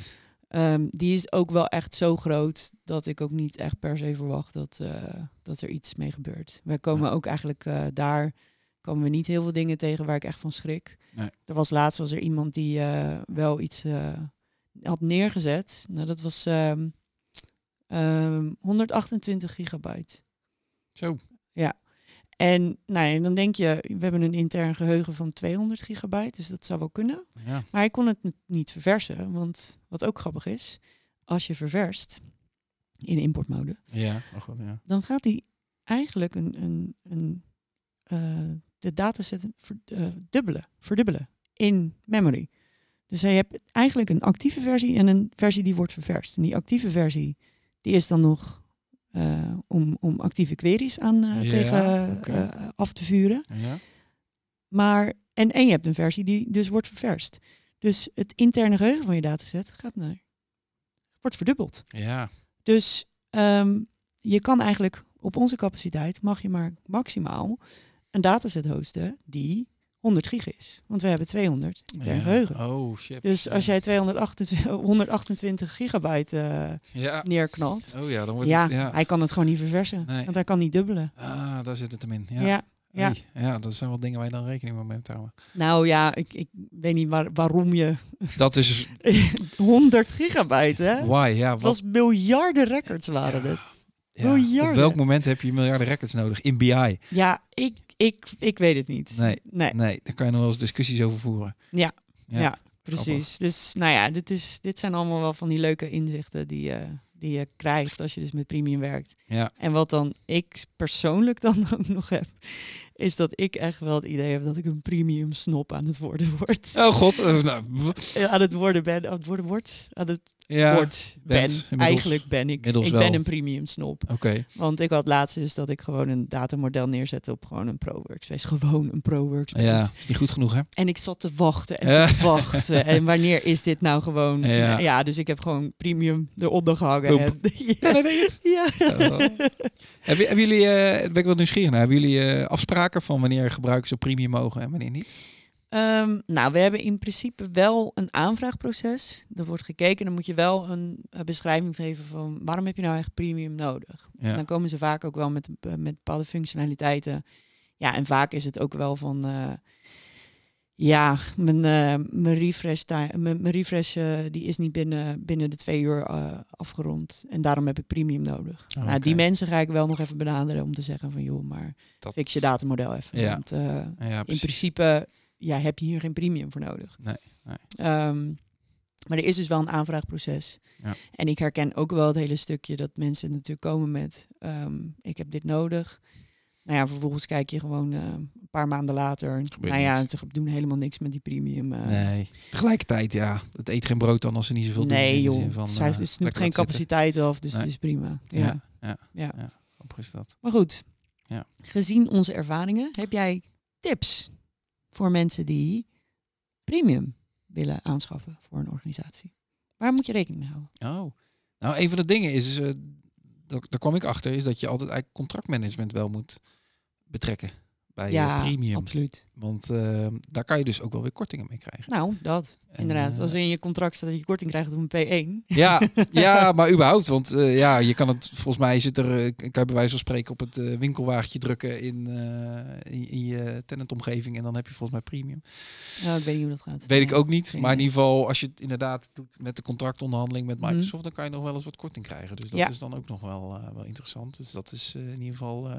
Ehm, die is ook wel echt zo groot dat ik ook niet echt per se verwacht dat, eh, dat er iets mee gebeurt. Wij komen ook eigenlijk eh, daar komen we niet heel veel dingen tegen waar ik echt van schrik.
Nee.
Er was laatst was er iemand die eh, wel iets eh, had neergezet. Nou, dat was ehm, ehm, 128 gigabyte.
Zo.
En nou, ja, dan denk je, we hebben een intern geheugen van 200 gigabyte, dus dat zou wel kunnen.
Ja.
Maar hij kon het n- niet verversen, want wat ook grappig is, als je ververst in importmode,
Ja. Oh, god, ja.
dan gaat hij eigenlijk een, een, een, eh, de dataset ver- eh, dubbelen, verdubbelen in memory. Dus je hebt eigenlijk een actieve versie en een versie die wordt ververst. En die actieve versie, die is dan nog eh, om, om actieve queries aan eh,
Ja,
tegen
oké.
eh, af te vuren.
Ja.
Maar, en, en je hebt een versie die dus wordt ververst. Dus het interne geheugen van je dataset gaat naar, wordt verdubbeld.
Ja.
Dus ehm, je kan eigenlijk op onze capaciteit mag je maar maximaal een dataset hosten die 100 gig is. Want we hebben 200 intern
Ja.
geheugen.
Oh, shit.
Dus als
Ja.
jij 228, 128 gigabyte eh,
Ja.
neerknalt,
Oh ja, dan wordt
ja,
het... Ja.
hij kan het gewoon niet verversen.
Nee.
Want hij kan niet dubbelen.
Ah, daar zit het hem in. Ja.
Ja. ja.
Oei. ja, dat zijn wel dingen waar je dan rekening mee moet houden.
Nou ja, ik, ik weet niet waar, waarom je
Dat is dus
100 gigabyte, hè?
why. Ja,
Het
wat,
was miljarden records waren het.
ja. Op
miljarden.
welk moment heb je miljarden records nodig in BI?
Ja, ik, ik, ik weet het niet.
Nee.
nee.
Nee, daar kan je nog wel eens discussies over voeren.
Ja,
Ja.
ja, precies. Dus nou ja, dit, is, dit zijn allemaal wel van die leuke inzichten die je, die je krijgt als je dus met premium werkt.
Ja.
En wat dan ik persoonlijk dan ook nog heb, is dat ik echt wel het idee heb dat ik een premium snop aan het worden word.
Oh god. eh, nou, w-
Aan het worden ben, aan het worden wordt, aan het
ja. Oké.
wordt ben.
bent, inmiddels-
Eigenlijk ben ik,
inmiddels
ik ben
wel.
een premium snop. Want ik had laatst dus dat ik gewoon een datamodel neerzette op gewoon een Pro Workspace. Gewoon een Pro Workspace.
Ja, is niet goed genoeg hè?
En ik zat te wachten en
Ja.
te wachten. En wanneer is dit nou gewoon?
Ja.
Ja, dus ik heb gewoon premium eronder gehangen.
Oep.
En, ja. Ja.
Oh. hebben, hebben jullie, eh ben ik wel nieuwsgierig naar, hebben jullie eh, afspraken van wanneer gebruikers op premium mogen en wanneer niet?
Ehm, nou, we hebben in principe wel een aanvraagproces. Er wordt gekeken, dan moet je wel een eh, beschrijving geven van waarom heb je nou echt premium nodig.
Ja.
Dan komen ze vaak ook wel met, eh, met bepaalde functionaliteiten. Ja, en vaak is het ook wel van, eh, ja, mijn, eh, mijn refresh, ti- mijn, mijn refresh eh, die is niet binnen, binnen de twee uur eh, afgerond. En daarom heb ik premium nodig.
Oh,
Nou,
oké.
die mensen ga ik wel nog even benaderen om te zeggen van, joh, maar
Dat-
fix je datamodel even.
Ja.
Want, eh,
Ja,
in
precies.
principe ja, heb je hier geen premium voor nodig.
Nee, nee.
Ehm, maar er is dus wel een aanvraagproces.
Ja.
En ik herken ook wel het hele stukje dat mensen natuurlijk komen met... ehm, ik heb dit nodig. Nou ja, vervolgens kijk je gewoon eh, een paar maanden later.
Gebeurt
Nou ja,
niks.
ze doen helemaal niks met die premium. eh.
Nee. Tegelijkertijd, ja, het eet geen brood dan als ze niet zoveel doen.
Nee,
in de
joh.
zin van,
zij
eh,
het snoept
lekker
geen
laten zitten.
capaciteit af, dus
Nee.
het is prima. Ja.
Ja, ja, ja.
Ja.
Grappig is dat.
Maar goed,
Ja.
gezien onze ervaringen, heb jij tips voor mensen die premium willen aanschaffen voor een organisatie? Waar moet je rekening mee houden?
Oh. Nou, een van de dingen is, eh, daar, daar kwam ik achter, is dat je altijd eigenlijk contractmanagement wel moet betrekken bij je premium.
absoluut.
Want eh, daar kan je dus ook wel weer kortingen mee krijgen.
Nou, dat.
En,
Inderdaad.
eh,
Als er in je contract staat dat je korting krijgt op een P1.
Ja, ja, maar überhaupt. Want eh, ja, je kan het, volgens mij zit er, eh, kan je bij wijze van spreken op het eh, winkelwagentje drukken in, eh, in, in je tenantomgeving. En dan heb je volgens mij premium.
Nou, ik weet niet hoe dat gaat.
Weet ik ook niet.
geen
Maar in
idee.
ieder geval, als je het inderdaad doet met de contractonderhandeling met Microsoft, dan kan je nog wel eens wat korting krijgen. Dus dat
Mhm. Ja.
is dan ook nog wel, eh, wel interessant. Dus dat is eh, in ieder geval eh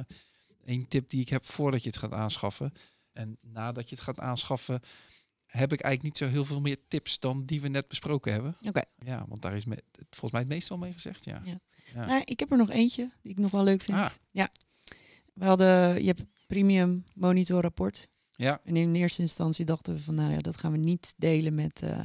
één tip die ik heb voordat je het gaat aanschaffen. En nadat je het gaat aanschaffen, heb ik eigenlijk niet zo heel veel meer tips dan die we net besproken hebben.
Oké.
Ja, want daar is me, het- volgens mij het meestal mee gezegd, ja. Ja.
Nou, ik heb er nog eentje die ik nog wel leuk vind.
Ah.
Ja. We hadden, je hebt premium monitorrapport.
Ja.
En in eerste instantie dachten we van, nou ja, dat gaan we niet delen met, eh,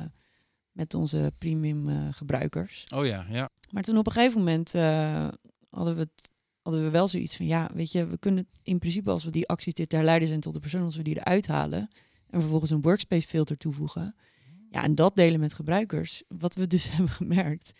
met onze premium eh, gebruikers.
Oh ja, ja.
Maar toen op een gegeven moment eh, hadden, we het, hadden we wel zoiets van, ja, weet je, we kunnen in principe als we die acties dit herleiden zijn tot de persoon, als we die eruit halen en vervolgens een workspace filter toevoegen.
Mhm.
Ja, en dat delen met gebruikers. Wat we dus hebben gemerkt,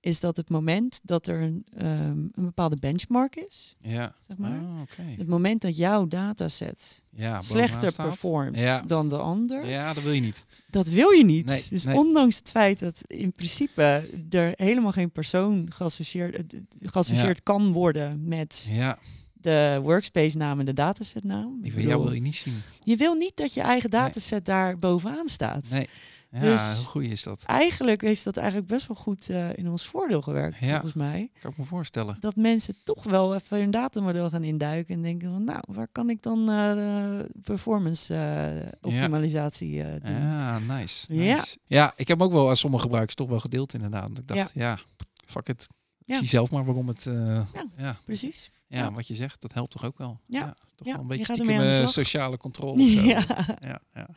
is dat het moment dat er een, ehm, een bepaalde benchmark is,
Ja.
zeg maar.
Oh, oké.
Het moment dat jouw dataset
Ja, Nou, bovenaan
slechter
staat.
performt
Ja.
dan de ander,
Ja, dat wil je niet.
dat wil je niet.
Nee,
dus
nee.
ondanks het feit dat in principe er helemaal geen persoon geassocieerd, eh, d- geassocieerd kan worden met
Ja,
de workspace naam en de dataset naam.
die van jou wil je niet zien.
je wil niet dat je eigen dataset daar bovenaan staat.
Nee. Ja,
Dus-
hoe goed is dat?
Eigenlijk heeft dat eigenlijk best wel goed eh, in ons voordeel gewerkt,
Ja.
volgens mij.
Kan ik me voorstellen.
Dat mensen toch wel even hun datamodel gaan induiken en denken van nou, waar kan ik dan eh, de performance eh, optimalisatie eh, doen?
Ja, nice.
Ja.
nice. Ja, ik heb hem ook wel aan sommige gebruikers toch wel gedeeld inderdaad. Want Ik dacht, ja, fuck it.
Ja.
Zie zelf maar waarom het... eh, ja. Ja,
Precies. Ja.
wat je zegt, dat helpt toch ook wel.
Ja.
is toch
Ja,
wel een
je
beetje
gaat
stiekem
ermee aan de
eh,
slag.
sociale controle. of zo.
Ja.
ja, ja.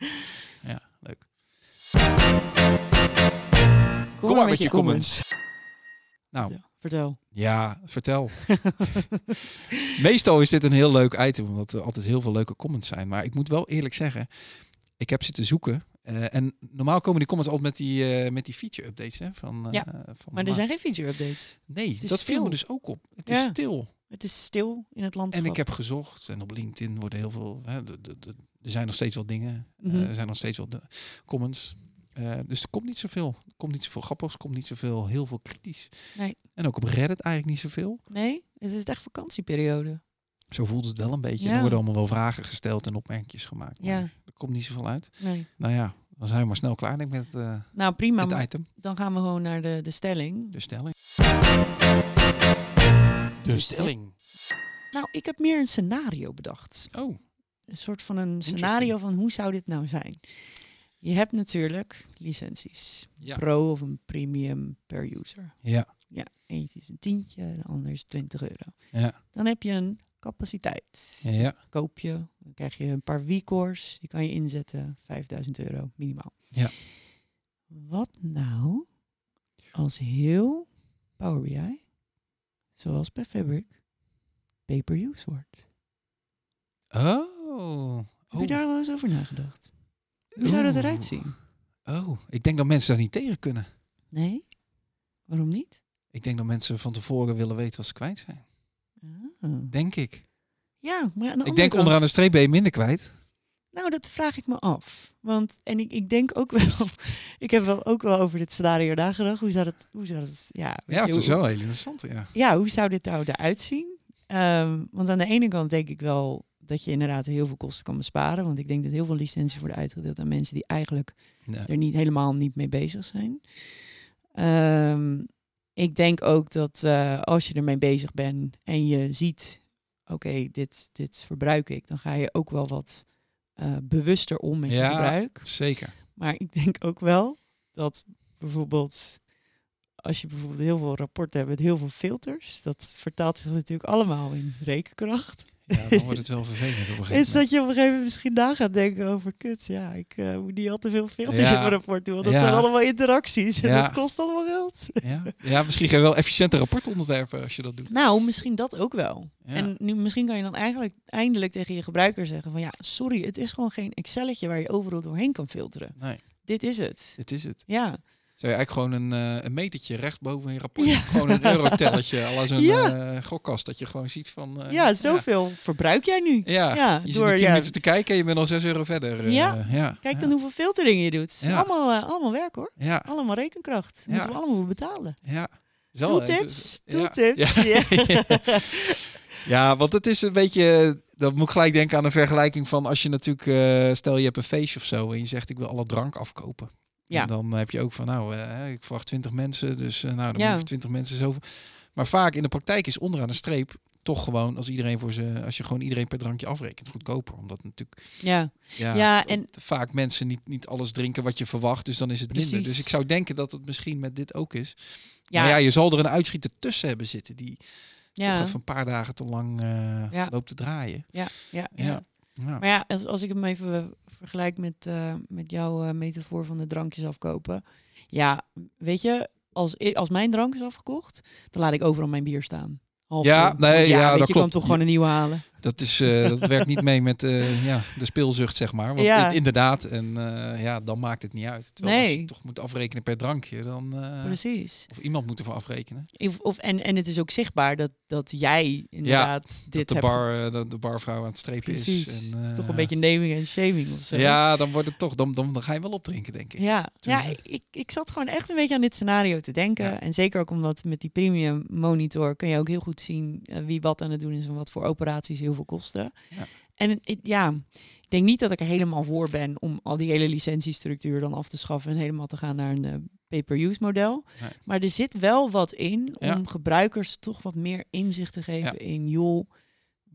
Ja, leuk.
Kom,
Kom maar met je comments. Nou,
Vertel. Vertel.
Ja, vertel. Meestal is dit een heel leuk item, omdat er altijd heel veel leuke comments zijn. Maar ik moet wel eerlijk zeggen, ik heb zitten zoeken. eh, en normaal komen die comments altijd met die, eh, met die feature updates. Hè, van, eh,
Ja,
van
Maar er
Mac.
zijn geen feature updates.
Nee,
is
dat viel me
stil.
dus ook op. Het is
Ja.
stil.
Het is stil in het landschap.
En ik heb gezocht. En op LinkedIn worden heel veel... Hè, de- de- de- er zijn nog steeds wel dingen. eh,
Mhm.
er zijn nog steeds wel de comments. Eh, dus er komt niet zoveel. Er komt niet zoveel grappigs. Er komt niet zoveel. Heel veel kritisch.
Nee.
En ook op Reddit eigenlijk niet zoveel.
Nee, het is echt vakantieperiode.
Zo voelt het wel een beetje.
Ja.
Er worden allemaal wel vragen gesteld en opmerkingjes gemaakt. maar
Ja.
Er komt niet zoveel uit.
Nee.
Nou ja, dan zijn we maar snel klaar denk ik, met eh
Nou prima,
het
maar
item.
dan gaan we gewoon naar de, de stelling.
De stelling. De
De
stelling.
Nou, ik heb meer een scenario bedacht.
Oh,
Een soort van een
Interesting.
scenario van hoe zou dit nou zijn? Je hebt natuurlijk licenties.
ja.
Pro of een premium per user.
Ja,
Ja, eentje is een tientje, de ander is 20 euro.
ja.
Dan heb je een capaciteit.
Ja.
Koop je, dan krijg je een paar weekors. Die kan je inzetten, 5000 euro minimaal.
Ja.
Wat nou als heel Power BI, zoals bij Fabric, pay-per-use wordt?
Oh.
Heb je
Oh.
daar wel eens over nagedacht? Hoe zou dat
Oeh.
eruit zien?
oh, ik denk dat mensen daar niet tegen kunnen.
Nee? Waarom niet?
Ik denk dat mensen van tevoren willen weten wat ze kwijt zijn.
Ah.
Denk ik.
Ja, maar aan de
ik
andere
denk
kant-
onderaan de streep ben je minder kwijt.
Nou, dat vraag ik me af. Want, en ik, ik denk ook wel, ik heb wel ook wel over dit scenario nagedacht. Hoe zou dat, hoe zou dat, ja. weet
Ja,
je,
het is
hoe-
wel heel interessant. Ja.
ja, hoe zou dit nou eruit zien? Ehm, want aan de ene kant denk ik wel dat je inderdaad heel veel kosten kan besparen. Want ik denk dat heel veel licenties worden uitgedeeld aan mensen die eigenlijk
Ja.
er niet helemaal niet mee bezig zijn. Ehm, ik denk ook dat eh, als je ermee bezig bent en je ziet, oké, dit, dit verbruik ik, dan ga je ook wel wat eh, bewuster om met
Ja.
je verbruik.
Zeker.
Maar ik denk ook wel dat bijvoorbeeld als je bijvoorbeeld heel veel rapporten hebt met heel veel filters, dat vertaalt zich natuurlijk allemaal in rekenkracht.
Ja, dan wordt het wel vervelend op een gegeven
Is
moment.
dat je op een gegeven moment misschien na gaat denken over kut, ja, ik eh, moet niet al te veel filters
Ja.
in mijn rapport doen, want dat
Ja.
zijn allemaal interacties en
Ja.
dat kost allemaal geld.
Ja? ja, misschien ga je wel efficiënter rapport onderwerpen als je dat doet.
Nou, misschien dat ook wel.
Ja.
En nu, misschien kan je dan eigenlijk eindelijk tegen je gebruiker zeggen van ja, sorry, het is gewoon geen Excelletje waar je overal doorheen kan filteren.
Nee,
Dit is het.
dit is het.
Ja.
Zou je eigenlijk gewoon een, eh, een metertje recht boven je rapport,
Ja.
gewoon een eurotelletje, al zo'n
Ja.
eh, gokkast, dat je gewoon ziet van... eh,
Ja, zoveel verbruik jij nu.
Ja,
Ja,
je zit
door-
er 10
ja.
minuten te kijken en je bent al 6 euro verder. eh,
Ja.
ja.
Kijk
ja.
dan hoeveel filteringen je doet. Het is
Ja.
allemaal, eh, allemaal werk hoor.
Ja,
Allemaal rekenkracht. Daar
Ja.
Moeten we allemaal voor betalen.
ja. Zo,
Tooltips.
eh, dus- ja.
Tooltips.
Ja.
Ja.
Ja, want het is een beetje, dat moet ik gelijk denken aan een vergelijking van als je natuurlijk, eh, stel je hebt een feestje of zo en je zegt ik wil alle drank afkopen.
Ja.
En dan heb je ook van nou, eh, ik verwacht 20 mensen, dus eh, nou dan
Ja.
moet je voor 20 mensen zoveel. Maar vaak in de praktijk is onderaan de streep toch gewoon als iedereen voor ze, als je gewoon iedereen per drankje afrekent, goedkoper. Omdat natuurlijk
Ja.
ja,
ja, en
vaak mensen niet, niet alles drinken wat je verwacht, dus dan is het minder.
Precies.
Dus ik zou denken dat het misschien met dit ook is. Ja.
ja,
Maar ja,
ja,
je zal er een uitschieter tussen hebben zitten die toch even een paar dagen te lang eh,
Ja.
loopt te draaien.
ja, ja, ja.
Ja. Ja.
Maar ja, als, als ik hem even eh, vergelijk met, eh, met jouw eh, metafoor van de drankjes afkopen. Ja, weet je, als, i- als mijn drank is afgekocht, dan laat ik overal mijn bier staan. Half
Ja,
vol.
nee,
Want
ja,
weet
dat
je kan
klopt.
toch gewoon een nieuwe halen.
Dat, is, eh, dat werkt niet mee met eh, ja, de speelzucht, zeg maar. Want
Ja.
in- inderdaad, en eh, ja, dan maakt het niet uit. Terwijl als
Nee. Oh, dus-
je toch moet afrekenen per drankje, dan... eh,
Precies.
of iemand moet ervoor afrekenen.
Of, of, en, en het is ook zichtbaar dat, dat jij inderdaad
dat
dit hebt
de, bar, eh, dat de barvrouw aan het strepen
Precies.
is. En, eh,
Toch een beetje naming en shaming of zo.
Ja, dan wordt het toch... Dan, dan, dan ga je wel opdrinken, denk ik.
Ja, ja
Dus,
ik, ik zat gewoon echt een beetje aan dit scenario te denken.
Ja.
En zeker ook omdat met die premium monitor kun je ook heel goed zien eh, wie wat aan het doen is en wat voor operaties heel veel kosten.
Ja.
En het- ja, ik denk niet dat ik er helemaal voor ben om al die hele licentiestructuur dan af te schaffen en helemaal te gaan naar een eh, pay-per-use model.
Nee.
Maar er zit wel wat in om
Ja.
gebruikers toch wat meer inzicht te geven
Ja.
in joh,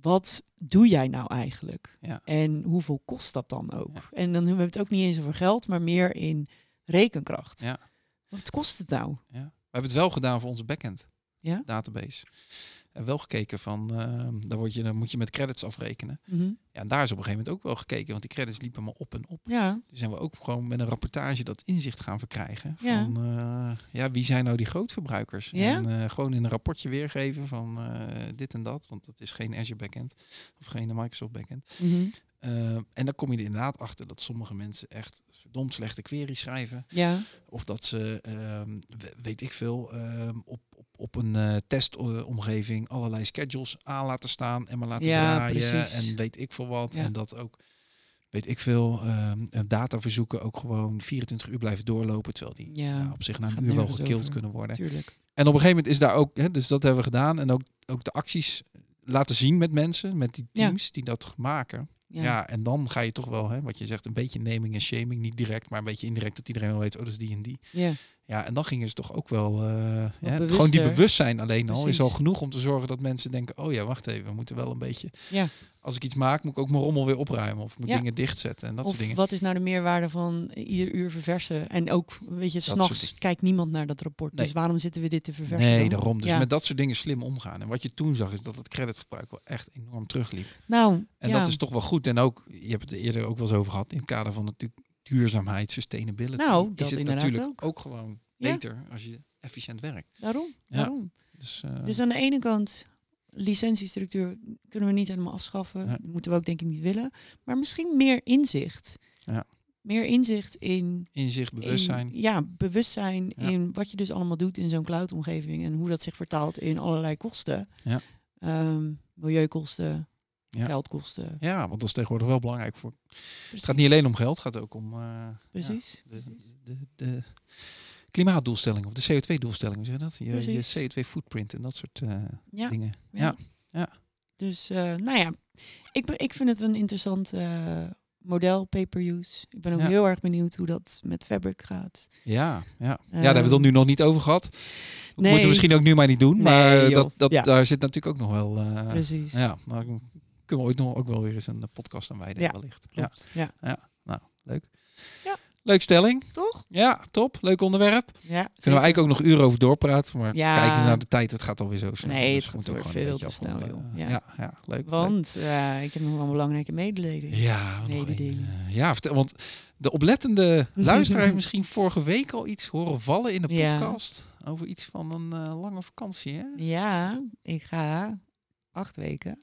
wat doe jij nou eigenlijk?
Ja.
En hoeveel kost dat dan ook?
Ja.
En dan hebben we het ook niet eens over geld, maar meer in rekenkracht.
Ja.
Wat kost het nou?
Ja. We hebben het wel gedaan voor onze backend
Ja?
database. En wel gekeken van, eh daar word je, dan moet je met credits afrekenen.
Mhm.
Ja, en daar is op een gegeven moment ook wel gekeken, want die credits liepen maar op en op.
Ja,
Toen zijn we ook gewoon met een rapportage dat inzicht gaan verkrijgen.
Ja.
Van eh, ja, wie zijn nou die grootverbruikers?
Ja?
En eh, gewoon in een rapportje weergeven van eh, dit en dat. Want dat is geen Azure backend of geen Microsoft backend.
Mhm.
Eh, en dan kom je er inderdaad achter dat sommige mensen echt verdomd slechte queries schrijven.
ja,
Of dat ze, ehm, we- weet ik veel, ehm, op, op, op een eh, testomgeving allerlei schedules aan laten staan en maar laten
Ja,
draaien.
precies.
En weet ik veel wat.
Ja.
En dat ook, weet ik veel, ehm, eh, dataverzoeken ook gewoon 24 uur blijven doorlopen. Terwijl die
Ja,
nou, eh, op zich na
gaat
een uur wel
nergens
gekild
over.
kunnen worden.
natuurlijk.
En op een gegeven moment is daar ook, hè, dus dat hebben we gedaan. En ook, ook de acties laten zien met mensen, met die
Ja.
teams die dat maken. Ja.
Ja.
en dan ga je toch wel, hè, wat je zegt, een beetje naming en shaming. Niet direct, maar een beetje indirect dat iedereen wel weet, oh, dat is die en die.
Ja.
Ja, en dan gingen ze toch ook wel... eh, hè, gewoon die
bewuster.
bewustzijn alleen al
Precies.
is al genoeg om te zorgen dat mensen denken... oh ja, wacht even, we moeten wel een beetje
Ja.
als ik iets maak, moet ik ook mijn rommel weer opruimen. Of ik moet
Ja.
dingen dichtzetten en dat
Of
soort dingen.
wat is nou de meerwaarde van ieder uur verversen? En ook, weet je,
soort
s'nachts
dingen.
kijkt niemand naar dat rapport.
Nee.
Dus waarom zitten we dit te verversen?
Nee,
dan?
daarom. Dus
Ja.
met dat soort dingen slim omgaan. En wat je toen zag, is dat het creditgebruik wel echt enorm terugliep.
Nou,
En
ja.
dat is toch wel goed. En ook, je hebt het eerder ook wel eens over gehad, in het kader van natuurlijk duurzaamheid, sustainability.
Nou, dat
is het
inderdaad
natuurlijk
ook.
ook, gewoon
Ja.
beter als je efficiënt werkt.
daarom.
Ja.
daarom.
Dus, eh,
Dus aan de ene kant, licentiestructuur kunnen we niet helemaal afschaffen.
Nee.
Dat moeten we ook denk ik niet willen. Maar misschien meer inzicht.
Ja.
Meer inzicht in...
inzicht, bewustzijn.
in- ja, bewustzijn
Ja.
in wat je dus allemaal doet in zo'n cloud-omgeving. En hoe dat zich vertaalt in allerlei kosten.
Ja.
Ehm, milieukosten,
Ja.
geldkosten.
Ja, want dat is tegenwoordig wel belangrijk voor. Het gaat
Precies.
niet alleen om geld, het gaat ook om eh,
Precies.
de, de, de klimaatdoelstelling of de CO2-doelstelling. Hoe zeg je dat? Je, je
Precies.
CO2-footprint en dat soort eh,
Ja.
dingen.
Ja.
Ja. Ja.
Dus eh, nou ja, ik, be- ik vind het wel een interessant eh, model, pay-per-use. Ik ben ook
Ja.
heel erg benieuwd hoe dat met Fabric gaat.
Ja, ja. ja, daar
Ehm,
hebben we het nu nog niet over gehad. Dat moeten we misschien ook nu maar niet doen.
Nee,
Maar
joh.
dat, dat,
Ja.
daar zit natuurlijk ook nog wel... eh,
Ehm, Precies.
ja, nou, ik- kunnen we ooit nog ook wel weer eens een eh, podcast aan wijden
Ja,
wellicht. Ja,
Klopt. Ja.
nou, leuk.
Ja.
Leuk stelling.
Toch?
Ja, top. Leuk onderwerp.
Ja.
Kunnen we eigenlijk ook nog uren over doorpraten. Maar
Ja.
kijken naar de tijd, het gaat alweer zo snel. Dus
Nee, het
we
gaat
moeten ook
weer
gewoon een
veel
beetje
te snel,
afronden. Eh,
joh. Ja.
ja, ja, leuk. leuk.
Want eh, ik heb nog wel een belangrijke mededeling.
Ja, nog
Mededeling.
één, eh, ja vertel, want de oplettende luisteraar heeft misschien vorige week al iets horen vallen in de
Ja.
podcast. Over iets van een eh, lange vakantie, hè?
Ja, ik ga acht weken.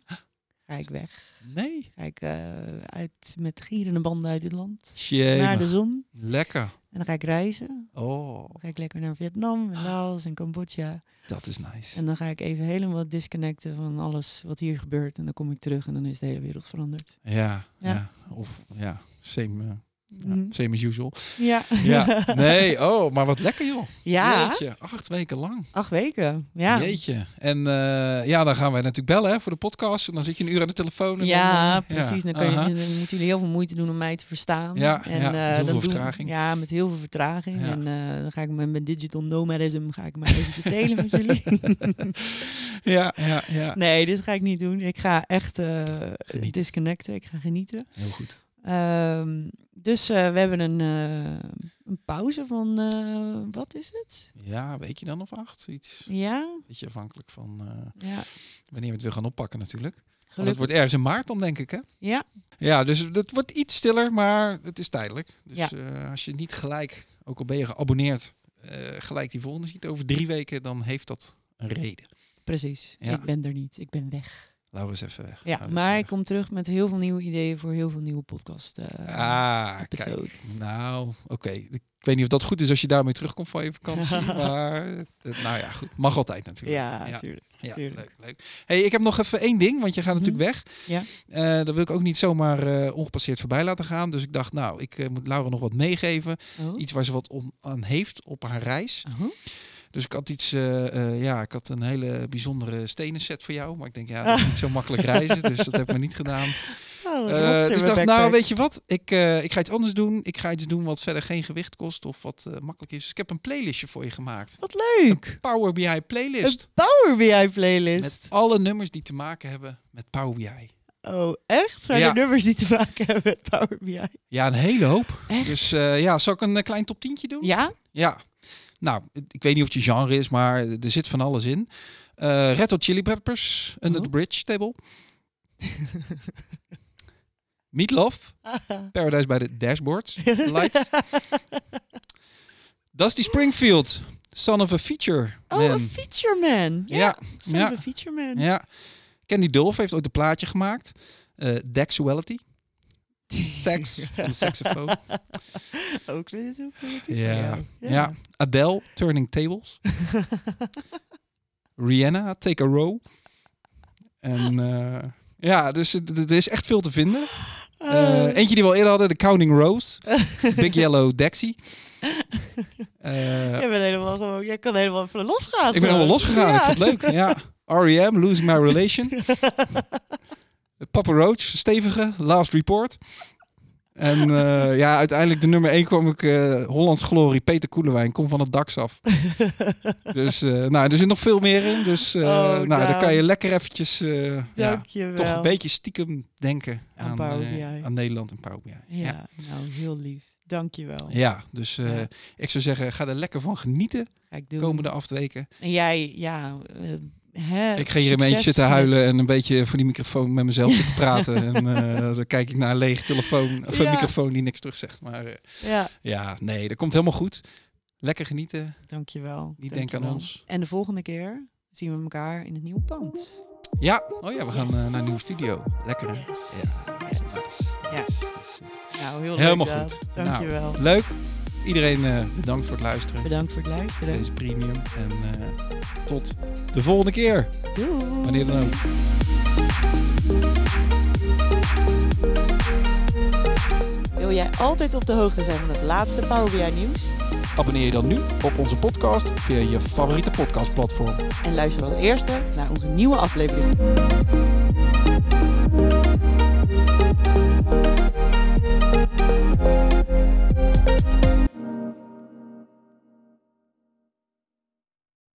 Ga ik weg.
Nee?
Ga ik eh, uit met gierende banden uit het land. Naar Nou, de
Jee,
zon.
lekker.
En dan ga ik reizen.
Oh,
Dan ga ik lekker naar Vietnam,
Ah.
en Laos en Cambodja.
dat is nice.
En dan ga ik even helemaal disconnecten van alles wat hier gebeurt. En dan kom ik terug en dan is de hele wereld veranderd.
Ja, ja.
Ja.
Of ja, same, eh, ja,
Mhm.
same as usual.
Ja.
Ja, nee, oh, maar wat lekker joh.
Ja,
Jeetje, acht weken lang.
acht weken. Ja,
Jeetje. En eh, ja, dan gaan wij natuurlijk bellen hè, voor de podcast. En dan zit je een uur aan de telefoon. En
ja
dan, eh,
precies. Dan, kun je,
aha.
dan moeten jullie heel veel moeite doen om mij te verstaan.
Ja,
en,
ja, met
eh,
heel
dan
veel
doen-
vertraging.
Ja, met heel veel vertraging.
Ja.
En eh, dan ga ik met mijn digital nomadism ga ik maar eventjes delen met jullie.
eh, Ja, ja, ja.
Nee, dit ga ik niet doen. Ik ga echt eh,
Genieten.
disconnecten. Ik ga genieten.
Heel goed.
Ehm, dus eh, we hebben een, eh, een pauze van, eh, wat is het?
Ja, weet je dan of acht? Iets.
Ja,
Beetje afhankelijk van eh,
ja.
wanneer we het weer gaan oppakken natuurlijk. Want het
gelukkig.
wordt ergens in maart dan, denk ik, hè?
Ja,
Ja, dus dat wordt iets stiller, maar het is tijdelijk. Dus
Ja.
eh, als je niet gelijk, ook al ben je geabonneerd, eh, gelijk die volgende ziet over drie weken, dan heeft dat een reden.
precies.
Ja.
Ik ben er niet. Ik ben weg.
Laura is even weg.
Ja,
Laura is
maar ik
even
kom terug met heel veel nieuwe ideeën voor heel veel nieuwe podcast.
weg.
eh,
Ah, kijk.
episodes.
Nou, oké. Ik weet niet of dat goed is als je daarmee terugkomt van je vakantie. maar eh, nou ja, goed. Mag altijd natuurlijk.
ja,
Ja.
natuurlijk.
Ja,
Tuurlijk.
leuk, leuk. Hey, ik heb nog even één ding, want je gaat natuurlijk weg.
Mhm. Ja.
Eh, dat wil ik ook niet zomaar eh, ongepasseerd voorbij laten gaan. Dus ik dacht, nou, ik eh, moet Laura nog wat meegeven.
Oh.
Iets waar ze wat on- aan heeft op haar reis.
Oh.
Dus ik had iets, eh, eh, ja, ik had een hele bijzondere stenen set voor jou. Maar ik denk, ja, dat is niet zo makkelijk reizen. Dus dat heb ik maar niet gedaan.
Oh,
Eh, dus ik dacht, nou, weet je wat? Ik, eh, ik ga iets anders doen. Ik ga iets doen wat verder geen gewicht kost of wat eh, makkelijk is. Dus ik heb een playlistje voor je gemaakt.
Wat leuk!
Power BI playlist.
Een Power BI playlist.
Met alle nummers die te maken hebben met Power BI.
Oh, echt? Zijn
Ja.
er nummers die te maken hebben met Power BI?
Ja, een hele hoop.
Echt?
Dus eh, ja, zal ik een eh, klein top 10 doen?
Ja?
Ja. Nou, ik weet niet of het je genre is, maar er zit van alles in. Eh Red Hot Chili Peppers, Under
Oh.
the Bridge Table. Meat Love,
Ah.
Paradise by the Dashboards. Lights. Dusty Springfield, Son of a Feature.
Oh,
Man.
een feature man. Ja,
Ja,
Son
ja.
of a feature man.
Ja. Candy Dulf heeft ooit een plaatje gemaakt. Eh Dexuality. Sex van de saxofoon.
Ook weer dit ook weer dit voor
Ja.
jou.
Ja. Adele, Turning Tables. Rihanna, Take a Row. En eh, ja, dus het- het- er is echt veel te vinden. Eh,
Oh.
eentje die we al eerder hadden, de Counting Rose. Big Yellow Dexy. Eh,
Jij bent helemaal gewoon, jij kan helemaal van losgaan.
ik ben helemaal losgegaan, ik vond het leuk. Ja. R.E.M., Losing My Relation. Papa Roach, stevige, Last Report. En eh, ja, uiteindelijk de nummer 1 kwam ik eh, Hollands Glorie, Peter Koelewijn, kom van het DAX af. dus eh, nou, er zit nog veel meer in. Dus eh,
Oh,
nou, dan
Daan.
kan je lekker eventjes eh, ja,
Dankjewel.
toch een beetje stiekem denken
Aan
aan,
Power
eh,
BI.
aan Nederland en Power BI. Ja.
Ja, nou heel lief. Dankjewel.
Ja, dus eh,
Ja.
ik zou zeggen, ga er lekker van genieten
Ga ik
de
doen.
komende acht weken.
En jij, ja. eh, hè,
ik ga hier een
succes
beetje zitten huilen
met-
en een beetje voor die microfoon met mezelf zitten praten. en eh, dan kijk ik naar een leeg telefoon, of een
Ja.
microfoon die niks terug zegt. Maar eh,
Ja,
ja, nee, dat komt helemaal goed. Lekker genieten.
dankjewel.
Niet
dankjewel.
denken aan ons.
En de volgende keer zien we elkaar in het nieuwe pand.
Ja, oh ja, we gaan eh, naar een nieuwe
Yes.
studio. Lekker. hè?
Yes.
Ja,
Yes.
nice,
Ja.
nice, nice.
Nou, heel
Helemaal
leuk. Daan.
goed. Nou,
Dankjewel.
Leuk. Iedereen eh, bedankt voor het luisteren.
Bedankt voor het luisteren.
Deze premium. En eh, tot de volgende keer.
Doei.
Wanneer dan ook.
Wil jij altijd op de hoogte zijn van het laatste Power BI nieuws?
Abonneer je dan nu op onze podcast via je favoriete podcastplatform.
En luister als eerste naar onze nieuwe aflevering.